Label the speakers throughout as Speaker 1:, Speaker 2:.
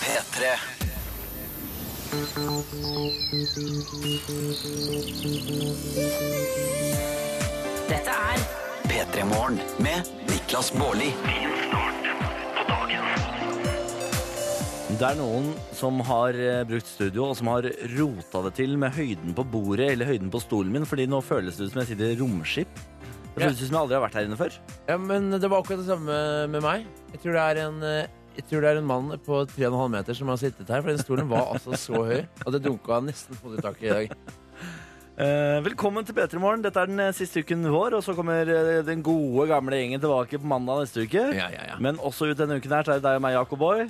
Speaker 1: P3.
Speaker 2: Dette er
Speaker 1: P3 Morgen med Niklas Baarli.
Speaker 3: Det er noen som har eh, brukt studio og som har rota det til med høyden på bordet eller høyden på stolen min, fordi nå føles det ut som jeg sitter i romskip. Det
Speaker 4: Ja.
Speaker 3: føles ut som jeg aldri har vært her inne før.
Speaker 4: Ja, men det var akkurat det samme med meg. Jeg tror det er en, eh, jeg tror det er en mann på 3,5 meter som har sittet her, for den stolen var altså så høy at det dunka nesten hodet i taket i dag.
Speaker 3: Eh, velkommen til P3 Morgen. Dette er den eh, siste uken vår, og så kommer eh, den gode, gamle gjengen tilbake på mandag neste uke.
Speaker 4: Ja, ja, ja.
Speaker 3: Men også ut denne uken her, så er det deg og meg, Jakob Boy.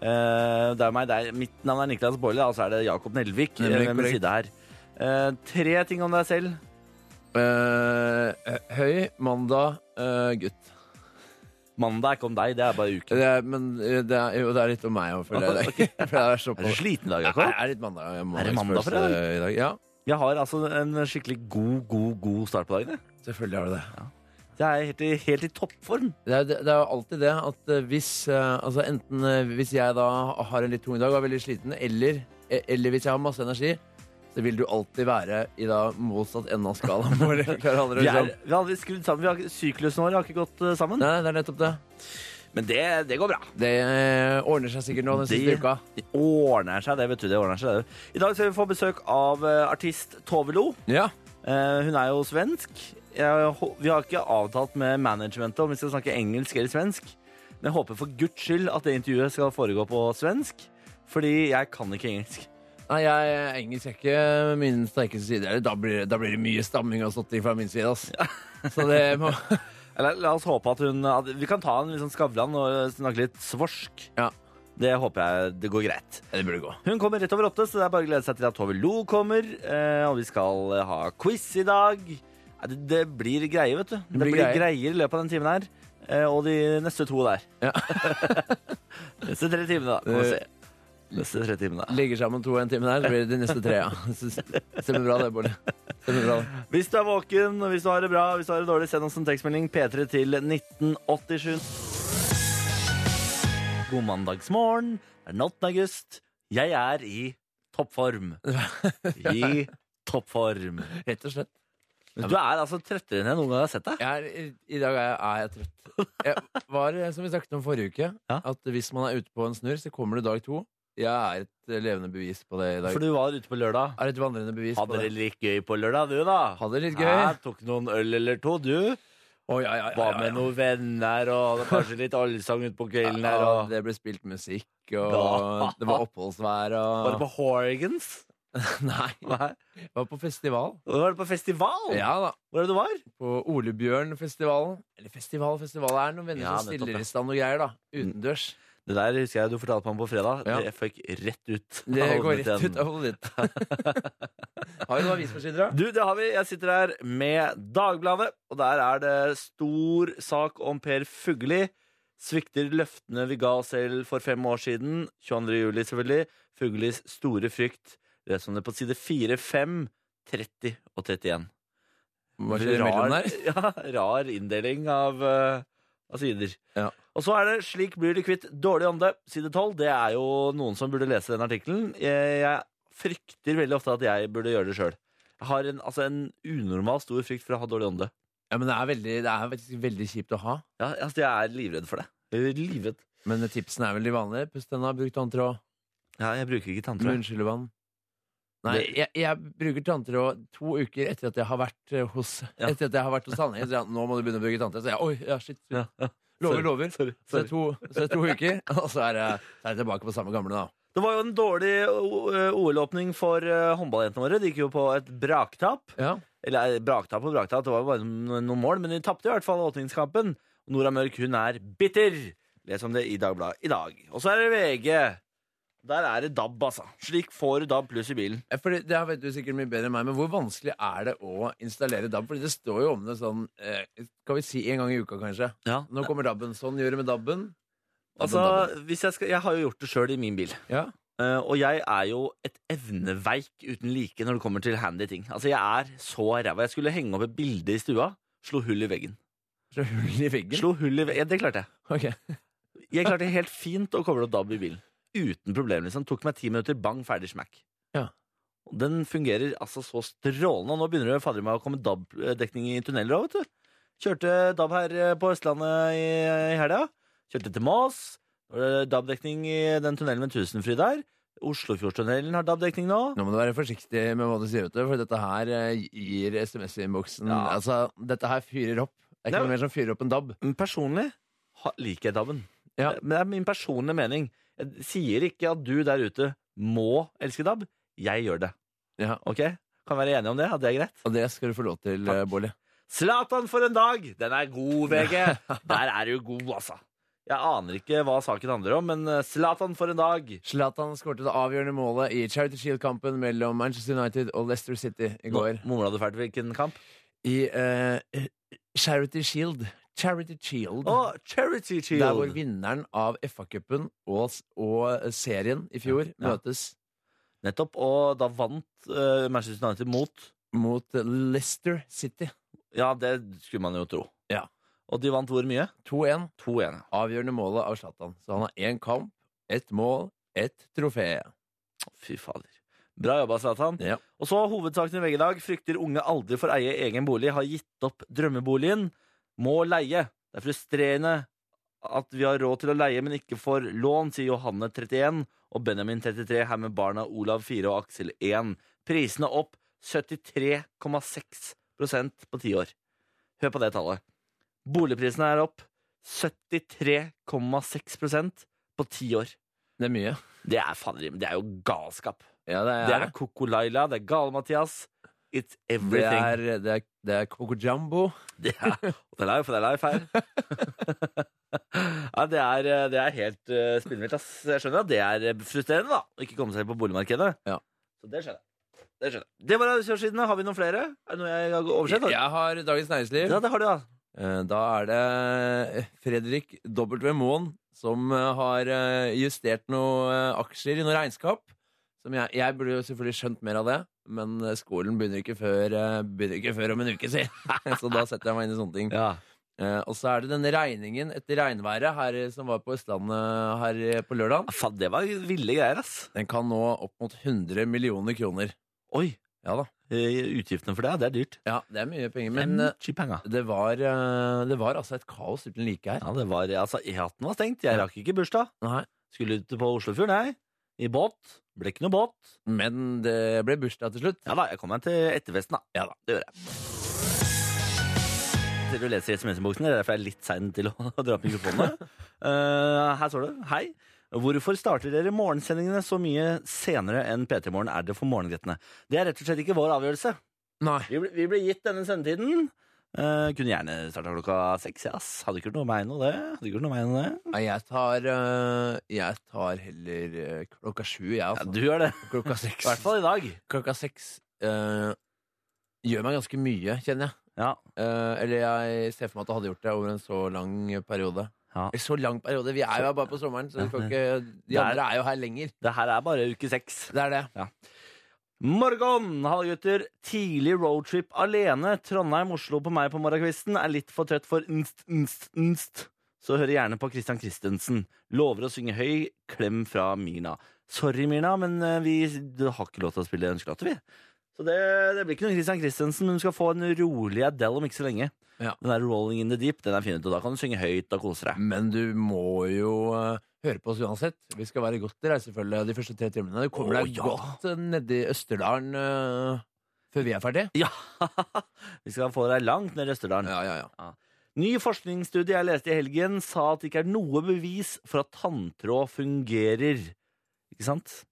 Speaker 3: Eh, det er meg, det er, mitt navn er Niklas Bolle, og så er det Jakob Nelvik eh,
Speaker 4: Nemlig,
Speaker 3: ved min
Speaker 4: korrekt.
Speaker 3: side her. Eh, tre ting om deg selv.
Speaker 4: Eh, høy, mandag, eh, gutt.
Speaker 3: Mandag er ikke om deg, det er bare uken.
Speaker 4: Det er, men eh, det er, jo, det er litt om meg òg, føler jeg. i dag. For jeg er
Speaker 3: Er du
Speaker 4: såpass
Speaker 3: sliten i dag,
Speaker 4: Det
Speaker 3: Jakob?
Speaker 4: er litt mandag. jeg må
Speaker 3: Er det
Speaker 4: ha
Speaker 3: mandag
Speaker 4: ekspress,
Speaker 3: for deg?
Speaker 4: eh, i dag? Ja,
Speaker 3: Jeg har altså en skikkelig god, god, god start på dagen. jeg.
Speaker 4: selvfølgelig har du det.
Speaker 3: Jeg er helt i, helt i toppform.
Speaker 4: Det er, det er jo alltid det at eh, hvis eh, Altså enten eh, hvis jeg da har en litt tung dag og er veldig sliten, eller, eh, eller hvis jeg har masse energi, så vil du alltid være i da motsatt ende av skalaen. hvor det klarer andre
Speaker 3: Vi, er,
Speaker 4: liksom.
Speaker 3: vi har aldri skrudd sammen. Vi har, ikke- syklusen vår har ikke gått eh, sammen.
Speaker 4: Nei, nei, det er nettopp det.
Speaker 3: Men det, det går bra.
Speaker 4: Det eh, ordner seg sikkert nå den siste
Speaker 3: Det-
Speaker 4: uka.
Speaker 3: Det ordner seg, det. vet du, det ordner seg det. I dag skal vi få besøk av eh, artist Tove Lo.
Speaker 4: Ja.
Speaker 3: Eh, hun er jo svensk. Jeg, hå- vi har ikke avtalt med managementet om vi skal snakke engelsk eller svensk. Men jeg håper for guds skyld at det intervjuet skal foregå på svensk. Fordi jeg kan ikke engelsk.
Speaker 4: Nei, jeg, engelsk er ikke min sterkeste side. Eller, da, blir, det- da blir det mye stamming og sånt fra min side. ass. Så det må
Speaker 3: Eller la oss håpe at hun at Vi kan ta en litt sånn Skavlan og snakke litt svorsk.
Speaker 4: Ja.
Speaker 3: Det håper jeg det går greit.
Speaker 4: Det burde gå.
Speaker 3: Hun kommer rett over åtte, så det er bare å glede seg til at Tove Lo kommer. Eh, og vi skal eh, ha quiz i dag. Nei, Det, det blir greier, vet du. Det,
Speaker 4: blir
Speaker 3: blir,
Speaker 4: greier.
Speaker 3: greier i løpet av den timen her. Eh, og de neste to der.
Speaker 4: Ja.
Speaker 3: neste tre timene, da. Må vi se. Neste tre timene.
Speaker 4: Legger sammen to og en time der, så blir det de neste tre. ja. Stemmer bra det, Bård. Stemmer bra det.
Speaker 3: Hvis du er våken, og hvis du har det bra, hvis du har det dårlig, send oss en tekstmelding P3 til 1987. God mandagsmorgen. Det er 8. august. Jeg er i toppform. I toppform.
Speaker 4: Rett og slett.
Speaker 3: Men du er altså trøttere enn jeg noen gang har sett deg.
Speaker 4: Jeg er, I dag er jeg, er jeg trøtt. Jeg var, eh, som vi snakket om forrige uke,
Speaker 3: Ja.
Speaker 4: at hvis man er ute på en snurr, så kommer det dag to. Jeg er et eh, levende bevis på det i dag.
Speaker 3: For du var ute på lørdag.
Speaker 4: Er et vandrende bevis på
Speaker 3: Hadde
Speaker 4: det.
Speaker 3: det litt gøy på lørdag, du, da?
Speaker 4: Hadde det litt gøy.
Speaker 3: Ja, tok noen øl eller to, du.
Speaker 4: Å, ja, ja, ja,
Speaker 3: Var
Speaker 4: ja, ja.
Speaker 3: med noen venner og hadde kanskje litt allsang utpå kvelden her.
Speaker 4: Ja,
Speaker 3: Og...
Speaker 4: det ble spilt musikk, og
Speaker 3: Da.
Speaker 4: det var oppholdsvær og
Speaker 3: Var det på Horgans?
Speaker 4: Nei.
Speaker 3: Nei.
Speaker 4: det Var på festival.
Speaker 3: Var det på festival?
Speaker 4: Ja da.
Speaker 3: Hvor er det du var?
Speaker 4: På Olebjørnfestivalen. Eller festival, festival. Det er noen venner
Speaker 3: Ja,
Speaker 4: som
Speaker 3: nettopp, ja.
Speaker 4: stiller i stand og greier, da. Utendørs.
Speaker 3: Det der husker jeg du fortalte meg om på fredag.
Speaker 4: Ja.
Speaker 3: Det føk rett ut.
Speaker 4: Det
Speaker 3: av
Speaker 4: går
Speaker 3: hodet
Speaker 4: rett
Speaker 3: igjen.
Speaker 4: ut av hodet ditt. Har du noen avisforsider, da?
Speaker 3: Du, det har vi. Jeg sitter her med Dagbladet, og der er det stor sak om Per Fugelli. Svikter løftene vi ga oss selv for fem år siden. 22. juli, selvfølgelig. Fuglis store frykt. Les om det på side 4, 5, 30 og 31.
Speaker 4: Hva skjer imellom der?
Speaker 3: ja, rar inndeling av, eh, av sider.
Speaker 4: Ja.
Speaker 3: Og så er det 'Slik blir du kvitt dårlig ånde', side 12. Det er jo noen som burde lese den artikkelen. Jeg, jeg frykter veldig ofte at jeg burde gjøre det sjøl. Jeg har en, altså en unormal stor frykt for å ha dårlig ånde.
Speaker 4: Ja, men det er veldig, det er faktisk veldig kjipt å ha.
Speaker 3: Ja, altså jeg er livredd for det. Jeg er Livredd.
Speaker 4: Men tipsene er veldig vanlige. Puss tenna, bruk tanntråd.
Speaker 3: Ja, jeg bruker ikke tanntråd.
Speaker 4: Munnskyllevann. Nei,
Speaker 3: Det-
Speaker 4: jeg, jeg bruker tanntråd to uker etter at jeg har vært eh, hos
Speaker 3: Ja.
Speaker 4: Etter at jeg har vært hos tannlegen. Så jeg, nå må du begynne å bruke tanntråd. Så jeg, oi, ja, shit.
Speaker 3: Ja, ja.
Speaker 4: Lover, lover.
Speaker 3: Sorry,
Speaker 4: Så er
Speaker 3: sorry.
Speaker 4: det to, så er det to uker, og så er, jeg, så er jeg tilbake på samme gamle, da.
Speaker 3: Det var jo en dårlig O- OL-åpning for eh, håndballjentene våre. De gikk jo på et braktap.
Speaker 4: Ja.
Speaker 3: Eller eh, braktap og braktap, det var jo bare no- noen mål, men de tapte i hvert fall åpningskampen. Nora Mørk, hun er bitter! Les om det i Dagbladet i dag. Og så er det VG. Der er det DAB, altså. Slik får du DAB pluss i bilen.
Speaker 4: Eh, Fordi, det her vet du sikkert mye bedre enn meg, men hvor vanskelig er det å installere DAB? Fordi det står jo om det sånn eh, Skal vi si en gang i uka, kanskje?
Speaker 3: Ja.
Speaker 4: Nå kommer DAB-en. Sånn gjør det med DAB-en.
Speaker 3: Altså, hvis jeg, skal, jeg har jo gjort det sjøl i min bil.
Speaker 4: Ja.
Speaker 3: Eh, og jeg er jo et evneveik uten like når det kommer til handy ting. Altså, jeg er så ræva. Jeg skulle henge opp et bilde i stua. Slo hull i veggen.
Speaker 4: Så hull i veggen?
Speaker 3: Slo hull i veggen. Ja, det klarte jeg.
Speaker 4: Ok.
Speaker 3: Jeg klarte helt fint å koble opp DAB i bilen. uten problem. liksom. Tok meg ti minutter, bang, ferdig smack.
Speaker 4: Ja.
Speaker 3: Og Den fungerer altså så strålende. Og nå begynner det fader meg å komme DAB-dekning i tunneler òg, vet du. Kjørte DAB her eh, på Østlandet i, i helga. Kjørte til Moss. Nå er det DAB-dekning i den tunnelen ved Tusenfryd der. Oslofjordtunnelen har DAB-dekning nå.
Speaker 4: Nå må du være forsiktig med hva du sier, vet du, for dette her eh, gir SMS-innboksen
Speaker 3: Ja.
Speaker 4: Altså, dette her fyrer opp. Det
Speaker 3: Nei,
Speaker 4: er ikke
Speaker 3: men-
Speaker 4: noe mer som fyrer opp en DAB.
Speaker 3: Men personlig ha- liker jeg DAB-en.
Speaker 4: Ja.
Speaker 3: Men det er min personlige mening. Jeg sier ikke at du der ute må elske DAB. Jeg gjør det.
Speaker 4: Ja.
Speaker 3: Ok? Kan vi være enige om det? At det er greit?
Speaker 4: Og det skal du få lov til,
Speaker 3: Takk.
Speaker 4: eh, Bård.
Speaker 3: Zlatan for en dag! Den er god, VG. Der er du god, altså. Jeg aner ikke hva saken handler om, men eh, Zlatan for en dag.
Speaker 4: Zlatan skårte det avgjørende målet i Charity Shield-kampen mellom Manchester United og Leicester City i går.
Speaker 3: Nå- Mumla du fælt hvilken kamp?
Speaker 4: I eh, Charity Shield. Charity Shield.
Speaker 3: Å, Charity
Speaker 4: Der hvor
Speaker 3: Shield.
Speaker 4: vinneren av FA-cupen og, og serien i fjor
Speaker 3: Ja.
Speaker 4: møtes
Speaker 3: Nettopp. Og da vant eh, Manchester United mot
Speaker 4: mot Leicester City.
Speaker 3: Ja, det skulle man jo tro.
Speaker 4: Ja.
Speaker 3: Og de vant hvor mye?
Speaker 4: 2-1.
Speaker 3: 2-1. ja.
Speaker 4: Avgjørende målet av Zlatan. Så han har én kamp, ett mål, ett trofé.
Speaker 3: Fy fader. Bra jobba, Zlatan.
Speaker 4: Ja.
Speaker 3: Og så hovedsaken i VG i dag. Frykter unge aldri for eie egen bolig. Har gitt opp drømmeboligen. Må leie. Det er frustrerende at vi har råd til å leie, men ikke får lån, sier Johanne 31 og Benjamin 33 her med barna Olav 4 og Aksel 1. Prisene opp 73,6 på ti år. Hør på det tallet. Boligprisene er opp 73,6 på ti år.
Speaker 4: Det er mye.
Speaker 3: Det er fader i meg- Det er jo galskap.
Speaker 4: Ja, det
Speaker 3: Det er Koko Laila, det er Gale Mathias. It's
Speaker 4: Det
Speaker 3: everything.
Speaker 4: er, det er, det er Coco Jumbo.
Speaker 3: Det er, og det er life, og det er life her. ja, det er, eh, det er helt uh, spinnvilt, ass. Jeg skjønner at det er eh, frustrerende, da. Å ikke komme seg på boligmarkedet.
Speaker 4: Ja.
Speaker 3: Så det skjønner jeg. Det skjønner jeg. Det var arbeidsgiversidene. Har vi noen flere? Er det noe jeg har oversett? da?
Speaker 4: Jeg har Dagens Næringsliv.
Speaker 3: Ja, det har du, ja.
Speaker 4: Eh, Da er det eh, Fredrik W. Moen som eh, har eh, justert noen eh, aksjer i noen regnskap. Som jeg, jeg burde jo selvfølgelig skjønt mer av det, men eh, skolen begynner ikke før, eh, begynner ikke før om en uke, si. Så da setter jeg meg inn i sånne ting.
Speaker 3: ja.
Speaker 4: Eh, Og så er det denne regningen etter regnværet her, eh, som var på Østlandet her eh, på lørdag.
Speaker 3: Ah, Faen, det var ville greier, ass.
Speaker 4: Den kan nå opp mot 100 millioner kroner.
Speaker 3: Oi.
Speaker 4: Ja da.
Speaker 3: eh, Utgiftene for det, det er dyrt.
Speaker 4: Ja, det er mye penger, men eh,
Speaker 3: Cheap hanga.
Speaker 4: det var, eh, det var altså et kaos uten like her.
Speaker 3: Ja, det var Altså, E18 var stengt. Jeg rakk ikke bursdag.
Speaker 4: Nei.
Speaker 3: Skulle ut på Oslofjorden, jeg. I båt. Ble ikke noe båt.
Speaker 4: Men det ble bursdag til slutt.
Speaker 3: Ja da, jeg kom meg til etterfesten, da. Ja da, Det gjør jeg. Sitter og leser i SMS-boksen, det er derfor jeg er litt sein til å dra opp mikrofonene. Eh, her står det. Hei. Hvorfor starter dere morgensendingene så mye senere enn P3 Morgen er det for morgengrettene? Det er rett og slett ikke vår avgjørelse.
Speaker 4: Nei.
Speaker 3: Vi ble, vi ble gitt denne sendetiden. Eh, kunne gjerne starta klokka seks, ja, ass. Hadde ikke gjort noe meg noe det. Hadde ikke gjort noe meg noe det.
Speaker 4: Nei, jeg tar, øh, jeg tar heller øh, klokka sju, jeg,
Speaker 3: Ja,
Speaker 4: altså.
Speaker 3: du gjør det.
Speaker 4: Klokka seks.
Speaker 3: I hvert fall i dag.
Speaker 4: Klokka seks øh, gjør meg ganske mye, kjenner jeg.
Speaker 3: Ja.
Speaker 4: Eh, eller jeg ser for meg at det hadde gjort det over en så lang periode.
Speaker 3: Ja.
Speaker 4: Eller så lang periode. Vi er jo her bare på sommeren, så vi kan ikke, de
Speaker 3: Det er-
Speaker 4: andre er jo her lenger.
Speaker 3: Det her er bare uke seks.
Speaker 4: Det er det.
Speaker 3: Morgen! Hallo, gutter. Tidlig roadtrip alene. Trondheim-Oslo på meg på morgenkvisten er litt for trøtt for nst, nst, nst. Så hører gjerne på Christian Christensen. Lover å synge høy. Klem fra Mina. Sorry, Mina, men eh, vi du har ikke lov til å spille ønskelåter, vi. Så det, det blir ikke noe Christian Christensen, men du skal få en rolig Adele om ikke så lenge.
Speaker 4: Ja. Mm.
Speaker 3: Den der Rolling in the Deep, den er fin, ut, og da kan du synge høyt og kose deg.
Speaker 4: Men du må jo øh, høre på oss uansett. Vi skal være godt i reisefølge de første tre timene. Du
Speaker 3: Å,
Speaker 4: kommer deg
Speaker 3: ja.
Speaker 4: godt øh, nedi Østerdalen øh, før vi er ferdig.
Speaker 3: Ja! vi skal få deg langt ned i Østerdalen.
Speaker 4: Ja, ja, ja.
Speaker 3: Ny forskningsstudie jeg leste i helgen, sa at det ikke er noe bevis for at tanntråd fungerer. Ikke sant?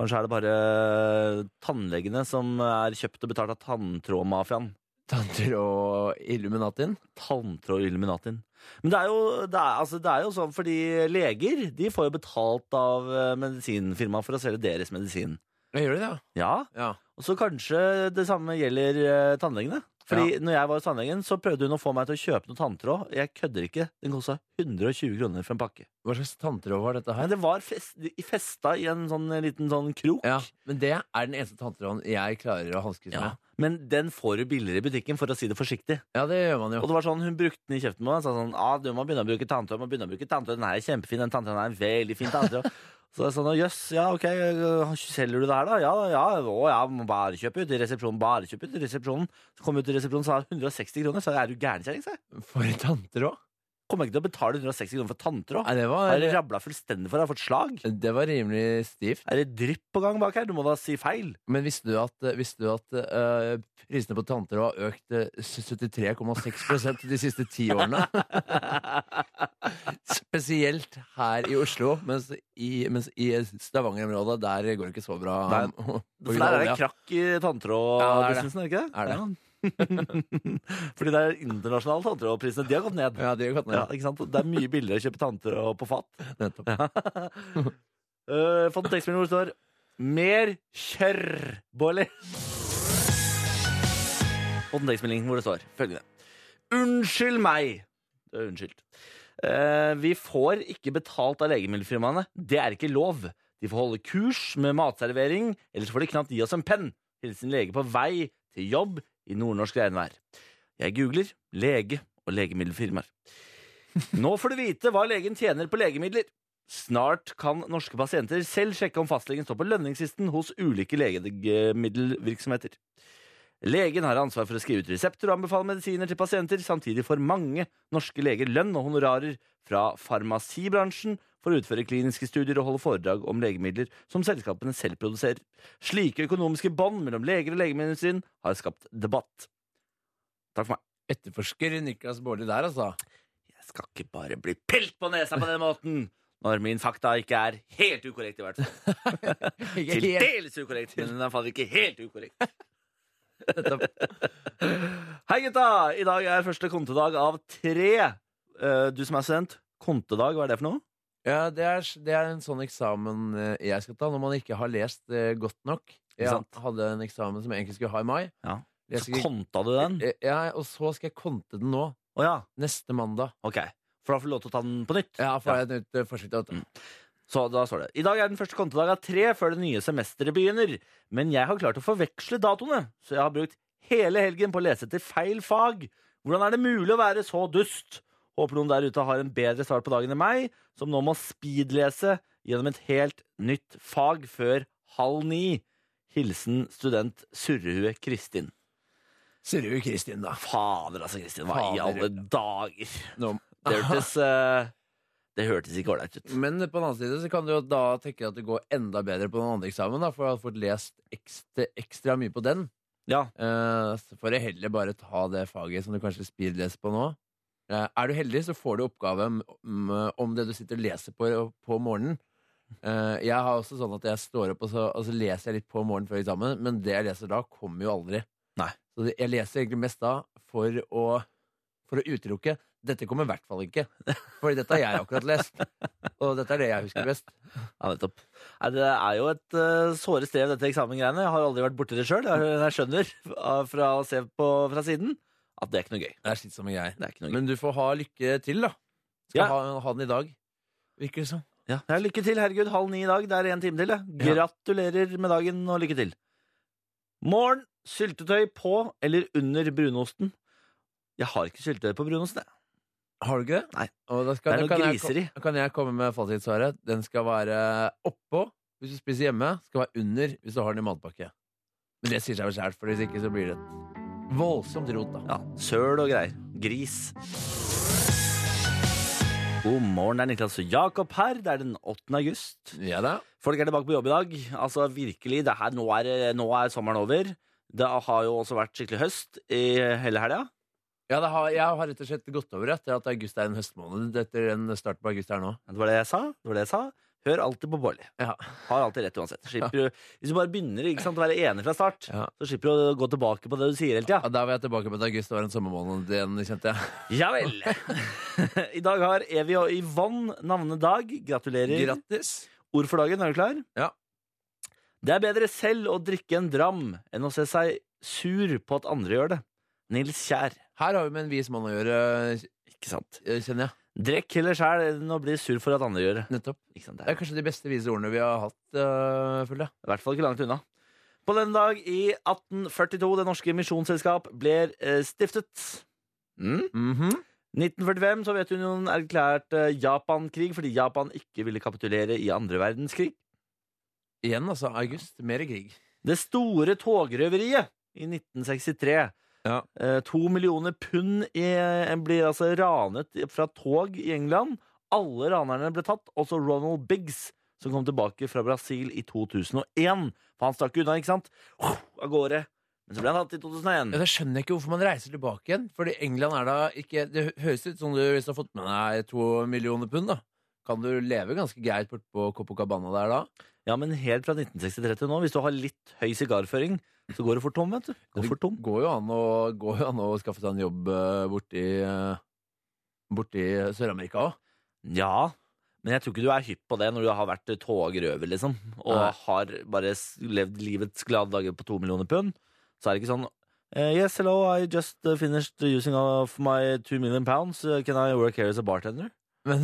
Speaker 3: Kanskje er det bare eh, tannlegene som er kjøpt og betalt av tanntrådmafiaen.
Speaker 4: Tanter og Illuminatin.
Speaker 3: Tanntrådilluminatin. Men det er, jo, det, er, altså, det er jo sånn fordi leger de får jo betalt av eh, medisinfirmaet for å selge deres medisin.
Speaker 4: Ja, gjør de det?
Speaker 3: Ja,
Speaker 4: Ja.
Speaker 3: Og så kanskje det samme gjelder eh, tannlegene. Fordi når jeg var hos tannlegen, så prøvde hun å få meg til å kjøpe noe tanntråd. Jeg kødder ikke. Den kosta 120 kroner for en pakke.
Speaker 4: Hva slags tanntråd var dette
Speaker 3: Nei,
Speaker 4: her?
Speaker 3: det var fest, i- festa i en sånn liten sånn krok.
Speaker 4: Ja, men det er den eneste tanntråden jeg klarer å hanskes
Speaker 3: Ja.
Speaker 4: med.
Speaker 3: Men den får du billigere i butikken, for å si det forsiktig.
Speaker 4: Ja, det gjør man
Speaker 3: Og
Speaker 4: jo.
Speaker 3: det var sånn, Hun brukte den i kjeften på meg og sa sånn ah, 'Du må begynne å bruke tanntråd.' må begynne å bruke tanntråd. 'Den her er kjempefin. Den tanntråden er en veldig fin tanntråd.' Så det er sånn, «Å, jøss, ja, ok, øh, selger du det her da? Ja, ja, å, ja, må bare kjøpe ut i resepsjonen, bare kjøpe ut i resepsjonen. Så kom jeg ut i resepsjonen, så er det 160 kroner, så er du gærnkjæring, sa jeg.
Speaker 4: For tanter òg.
Speaker 3: Kommer jeg ikke til å betale 160 kroner for tanter også?
Speaker 4: Nei, det
Speaker 3: Har
Speaker 4: var,
Speaker 3: jeg rabla fullstendig for, har jeg fått slag?
Speaker 4: det var rimelig stivt.
Speaker 3: Er det drypp på gang bak her? Du må da si feil.
Speaker 4: Men visste du at, visste du at eh, prisene på tanter har økt eh, 73,6 de siste ti årene? Spesielt her i Oslo, mens i, mens i Stavanger-området der går det ikke så bra.
Speaker 3: Nei,
Speaker 4: På
Speaker 3: For der
Speaker 4: grunn av
Speaker 3: Sånn er det
Speaker 4: olja.
Speaker 3: krakk i
Speaker 4: Ja, det er det.
Speaker 3: tanntrådbusinessen, er det ikke
Speaker 4: Er det?
Speaker 3: Ja. Fordi det er internasjonale tanntrådprisene. De har gått ned.
Speaker 4: Ja, det har gått
Speaker 3: Ja,
Speaker 4: ned.
Speaker 3: ikke sant? Det er mye billigere å kjøpe tanntråd på fat.
Speaker 4: Nettopp.
Speaker 3: Uh, fant en tekstmelding hvor det står Mer kjørr, Bårli. Fått en tekstmelding hvor det står følgende. Unnskyld meg. Det er Unnskyldt. Eh, vi får ikke betalt av legemiddelfirmaene. Det er ikke lov. De får holde kurs med matservering, ellers får de knapt gi oss en penn. Hilsen lege på vei til jobb i nordnorsk regnvær. Jeg googler lege og legemiddelfirmaer. Nå får du vite hva legen tjener på legemidler. Snart kan norske pasienter selv sjekke om fastlegen står på lønningslisten hos ulike legemiddelvirksomheter. Legen har ansvar for å skrive ut resepter og anbefale medisiner til pasienter. Samtidig får mange norske leger lønn og honorarer fra farmasibransjen for å utføre kliniske studier og holde foredrag om legemidler som selskapene selv produserer. Slike økonomiske bånd mellom leger og legemiddelindustrien har skapt debatt. Takk for meg.
Speaker 4: Etterforsker Niklas Baarli der, altså.
Speaker 3: Jeg skal ikke bare bli pilt på nesa på den måten! Når min fakta ikke er helt ukorrekt, i hvert fall.
Speaker 4: Ikke
Speaker 3: Til
Speaker 4: helt.
Speaker 3: dels ukorrekt, men den er faen ikke helt ukorrekt.
Speaker 4: Nettopp.
Speaker 3: Hei, gutta! I dag er første kontedag av tre. Eh, Du som er student, kontedag, hva er det for noe?
Speaker 4: Ja, det er, det er en sånn eksamen eh, jeg skal ta når man ikke har lest eh, godt nok. Jeg
Speaker 3: sant?
Speaker 4: hadde en eksamen som jeg egentlig skulle ha i mai.
Speaker 3: Ja.
Speaker 4: Jeg
Speaker 3: Så
Speaker 4: skulle-
Speaker 3: konta du den?
Speaker 4: Eh, Ja, og så skal jeg konte den nå.
Speaker 3: Å ja,
Speaker 4: Neste mandag.
Speaker 3: ok. For da får du lov til å ta den på nytt.
Speaker 4: Ja, får jeg et nytt eh, forsøk til å-
Speaker 3: Så da står det I dag er den første kontedag av tre før det nye semesteret begynner. Men jeg har klart å forveksle datoene, så jeg har brukt hele helgen på å lese etter feil fag. Hvordan er det mulig å være så dust? Håper noen der ute har en bedre start på dagen enn meg, som nå må speedlese gjennom et helt nytt fag før halv ni. Hilsen student Surrehue Kristin.
Speaker 4: Surrehue Kristin, da.
Speaker 3: Fader, altså, Kristin. Hva i
Speaker 4: Fader.
Speaker 3: alle dager?
Speaker 4: Nå.
Speaker 3: Det hørtes, eh, det hørtes ikke ålreit ut.
Speaker 4: Men på den annen side så kan du jo da tenke deg at det går enda bedre på den andre eksamen, da, for jeg har fått lest ekstra, ekstra mye på den.
Speaker 3: Ja,
Speaker 4: Eh, så får jeg heller bare ta det faget som du kanskje speedleser på nå. Eh, er du heldig, så får du oppgave om, om, om det du sitter og leser på på morgenen. Eh, jeg har også sånn at jeg står opp og så, og så leser jeg litt på morgenen før eksamen, men det jeg leser da, kommer jo aldri.
Speaker 3: Nei.
Speaker 4: Så det- jeg leser egentlig mest da for å, for å utelukke. Dette kommer i hvert fall ikke, for dette har jeg akkurat lest. Og dette er det jeg husker best.
Speaker 3: Ja, nettopp. Nei, det er jo et uh, såre strev, dette eksamengreiene. Jeg har aldri vært borti det sjøl. Jeg, jeg skjønner av- fra å se på fra siden at det er ikke noe gøy.
Speaker 4: Det er slitsomme greier.
Speaker 3: Det er ikke noe gøy.
Speaker 4: Men du får ha lykke til, da. Skal
Speaker 3: Ja.
Speaker 4: ha, ha den i dag, virker det som.
Speaker 3: Ja, ja, lykke til, herregud. Halv ni i dag. Det er en time til. det. Gratulerer med dagen, og lykke til. Morgen. Syltetøy på eller under brunosten? Jeg har ikke syltetøy på brunosten. jeg.
Speaker 4: Har du ikke det?
Speaker 3: Nei.
Speaker 4: Og da
Speaker 3: Det er
Speaker 4: skal, da
Speaker 3: noe
Speaker 4: kan
Speaker 3: griser i.
Speaker 4: Jeg, kom- kan jeg komme med fasitsvaret? Den skal være oppå hvis du spiser hjemme. Skal være under hvis du har den i matpakke. Men det sier seg vel sjæl, for hvis ikke så blir det et voldsomt rot, da.
Speaker 3: Ja, Søl og greier. Gris. God morgen, det er Niklas og Jakob her. Det er den 8. august.
Speaker 4: Ja da.
Speaker 3: Folk er tilbake på jobb i dag. Altså virkelig, det her, nå, er, nå er sommeren over. Det har jo også vært skikkelig høst i hele helga.
Speaker 4: Ja, det har, jeg har rett og slett gått over etter at august er en høstmåned. Etter en start på august her nå.
Speaker 3: Det var det jeg sa. det var det jeg sa. Hør alltid på Bårli.
Speaker 4: Ja.
Speaker 3: Har alltid rett uansett. Slipper, du- Hvis du bare begynner ikke sant, å være enig fra start,
Speaker 4: Ja.
Speaker 3: så slipper du å gå tilbake på det du sier hele tida.
Speaker 4: Ja, da var jeg tilbake på at august var en sommermåned igjen, kjente jeg.
Speaker 3: Ja vel. I dag har Evy og Yvonne navnedag. Gratulerer.
Speaker 4: Grattis.
Speaker 3: Ord for dagen, er du klar?
Speaker 4: Ja.
Speaker 3: Det er bedre selv å drikke en dram enn å se seg sur på at andre gjør det. Nils Kjær.
Speaker 4: Her har vi med en vis mann å gjøre,
Speaker 3: Ikke sant?
Speaker 4: kjenner jeg.
Speaker 3: Drikk heller sjæl enn å bli sur for at andre gjør det.
Speaker 4: Nettopp.
Speaker 3: Ikke sant?
Speaker 4: Det
Speaker 3: Det
Speaker 4: er kanskje de beste vise ordene vi har hatt, uh, føler jeg.
Speaker 3: er I hvert fall ikke langt unna. På denne dag i 1842 Det Norske Misjonsselskap ble eh, stiftet. Mm. 1945 Sovjetunionen erklærte eh, Japan-krig fordi Japan ikke ville kapitulere i andre verdenskrig.
Speaker 4: Igjen, altså. August. Mer krig.
Speaker 3: Det store togrøveriet i 1963.
Speaker 4: Ja.
Speaker 3: Eh, to millioner pund i, eh, blir altså ranet fra tog i England. Alle ranerne ble tatt, også Ronald Biggs, som kom tilbake fra Brasil i 2001. For han stakk unna, ikke sant? Av gårde. Men så ble han tatt i 2001.
Speaker 4: Ja, da skjønner jeg ikke hvorfor man reiser tilbake igjen. Fordi England er da ikke Det høres ut som du hvis du har fått med deg to millioner pund, da. Kan du leve ganske greit bortpå Copacabana der da?
Speaker 3: Ja, men helt fra 1963 til nå, hvis du har litt høy sigarføring, så går det for tom, vet du. Går for tom.
Speaker 4: Det går jo an å, går jo an å skaffe seg en jobb eh, borti, eh, borti Sør-Amerika òg.
Speaker 3: Ja, men jeg tror ikke du er hypp på det når du har vært togrøver, liksom, og
Speaker 4: Nei.
Speaker 3: har bare s- levd livets glade dager på to millioner pund. Så er det ikke sånn eh, Yes, hello, I just eh, finished using of my two million pounds. Eh, Can I work here as a bartender?
Speaker 4: Men,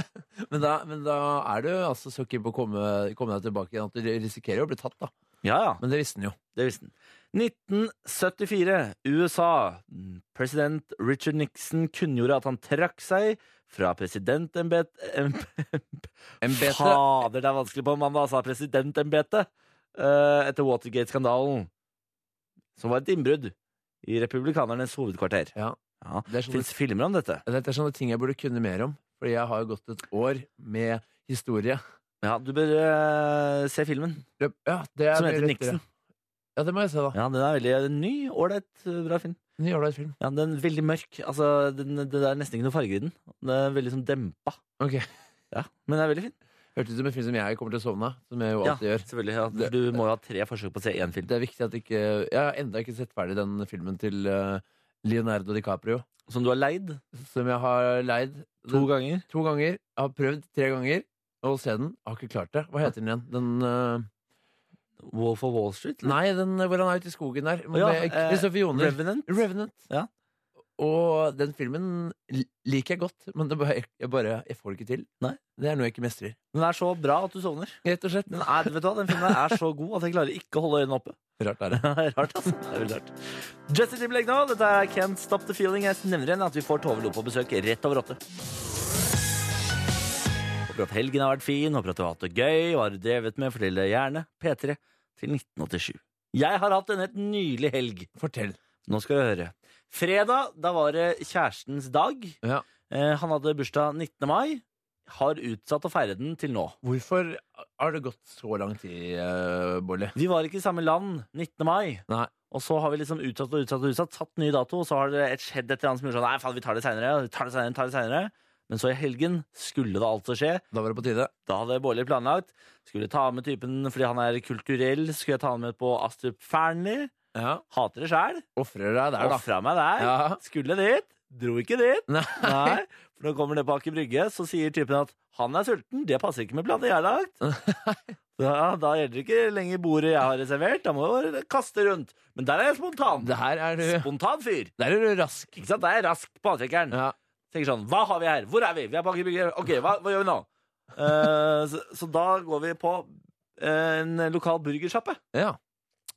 Speaker 4: men, da, men da er du altså så keen på å komme, komme deg tilbake igjen at du risikerer jo å bli tatt, da.
Speaker 3: Ja, ja.
Speaker 4: Men det visste han jo.
Speaker 3: Det visste han. 1974, USA. President Richard Nixon kunngjorde at han trakk seg fra presidentembet... em-
Speaker 4: Embetet
Speaker 3: Fader, det er vanskelig på mandag, altså. Presidentembetet eh, etter Watergate-skandalen, som var et innbrudd i republikanernes hovedkvarter.
Speaker 4: Ja.
Speaker 3: Ja.
Speaker 4: Det er
Speaker 3: Det
Speaker 4: sånn
Speaker 3: fins filmer om dette.
Speaker 4: Dette er sånne ting jeg burde kunne mer om. Fordi jeg har jo gått et år med historie.
Speaker 3: Ja, du bør eh, se filmen
Speaker 4: Ja, det er
Speaker 3: som
Speaker 4: mye
Speaker 3: heter
Speaker 4: lettere.
Speaker 3: Nixon.
Speaker 4: Ja, det må jeg se, da.
Speaker 3: Ja, Den er veldig ny, ålreit, eh, bra film.
Speaker 4: Ny ålreit film.
Speaker 3: Ja, Den er veldig mørk. Altså, den, Det er nesten ikke noe farge i den. Den er veldig sånn dempa.
Speaker 4: Ok.
Speaker 3: Ja, Men den er veldig fin.
Speaker 4: Hørtes ut som en film som jeg kommer til å sovne av. Som jeg jo
Speaker 3: Ja,
Speaker 4: alltid gjør.
Speaker 3: selvfølgelig. Ja. for Du må jo ha tre forsøk på å se én film.
Speaker 4: Det er viktig at ikke Jeg har enda ikke sett ferdig den filmen til eh, Leonardo DiCaprio.
Speaker 3: Som du har leid
Speaker 4: Som jeg har leid
Speaker 3: to ganger.
Speaker 4: to ganger. Jeg har prøvd tre ganger å se den. Jeg har ikke klart det. Hva heter den igjen? Den eh,
Speaker 3: Wolf of Wall Street?
Speaker 4: Nei, den hvor han er ute i skogen der.
Speaker 3: Ja,
Speaker 4: Med
Speaker 3: eh,
Speaker 4: Kristoffer Joner.
Speaker 3: Revenant?
Speaker 4: Revenant.
Speaker 3: Ja.
Speaker 4: Og den filmen li- liker jeg godt, men det bare, jeg bare Jeg får det ikke til.
Speaker 3: Nei.
Speaker 4: Det er noe jeg ikke mestrer.
Speaker 3: Den er så bra at du sovner.
Speaker 4: Rett og slett.
Speaker 3: Den, er, vet du hva? den filmen her er så god at jeg klarer ikke å holde øynene oppe.
Speaker 4: Rart er det.
Speaker 3: Det er rart, altså. Det er veldig rart. Justin Timberlake nå. Dette er Can't Stop The Feeling. Jeg nevner igjen at vi får Tove Lo på besøk rett over åtte. Håper at helgen har vært fin, håper at du har hatt det gøy. Hva har du drevet med? Fortell det gjerne. P3 til 1987. Jeg har hatt en helt nylig helg.
Speaker 4: Fortell.
Speaker 3: Nå skal du høre. Fredag, da var det kjærestens dag.
Speaker 4: Ja.
Speaker 3: Eh, han hadde bursdag 19. mai. Har utsatt å feire den til nå.
Speaker 4: Hvorfor har det gått så lang tid, uh, Bolli?
Speaker 3: Vi var ikke i samme land 19. mai.
Speaker 4: Nei.
Speaker 3: Og så har vi liksom utsatt og utsatt og utsatt, satt ny dato, og så har det et skjedd et eller annet som gjør sånn Nei, faen, vi tar det seinere, vi tar det seinere, tar det senere». Men så i helgen skulle det altså skje.
Speaker 4: Da var det på tide.
Speaker 3: Da hadde Bårdli planlagt. Skulle ta med typen fordi han er kulturell, skulle jeg ta han med på Astrup Fearnley.
Speaker 4: Ja.
Speaker 3: Hater det sjæl.
Speaker 4: Ofrer deg der, da.
Speaker 3: Ofra meg der.
Speaker 4: Ja.
Speaker 3: Skulle dit. Dro ikke dit.
Speaker 4: Nei.
Speaker 3: Nei, for når han kommer ned på Aker Brygge, så sier typen at han er sulten, det passer ikke med planen jeg har lagt. Da, da gjelder det ikke lenger bordet jeg har reservert, da må jeg kaste rundt. Men der er jeg spontan.
Speaker 4: Det her er du
Speaker 3: Spontan fyr.
Speaker 4: Der er du rask.
Speaker 3: Ikke sant? Da er jeg rask på avtrekkeren.
Speaker 4: Ja.
Speaker 3: Tenker sånn, hva har vi her? Hvor er vi? Vi er på Aker Brygge. Ok, hva, hva gjør vi nå? Eh, så, så da går vi på eh, en lokal burgersjappe,
Speaker 4: Ja.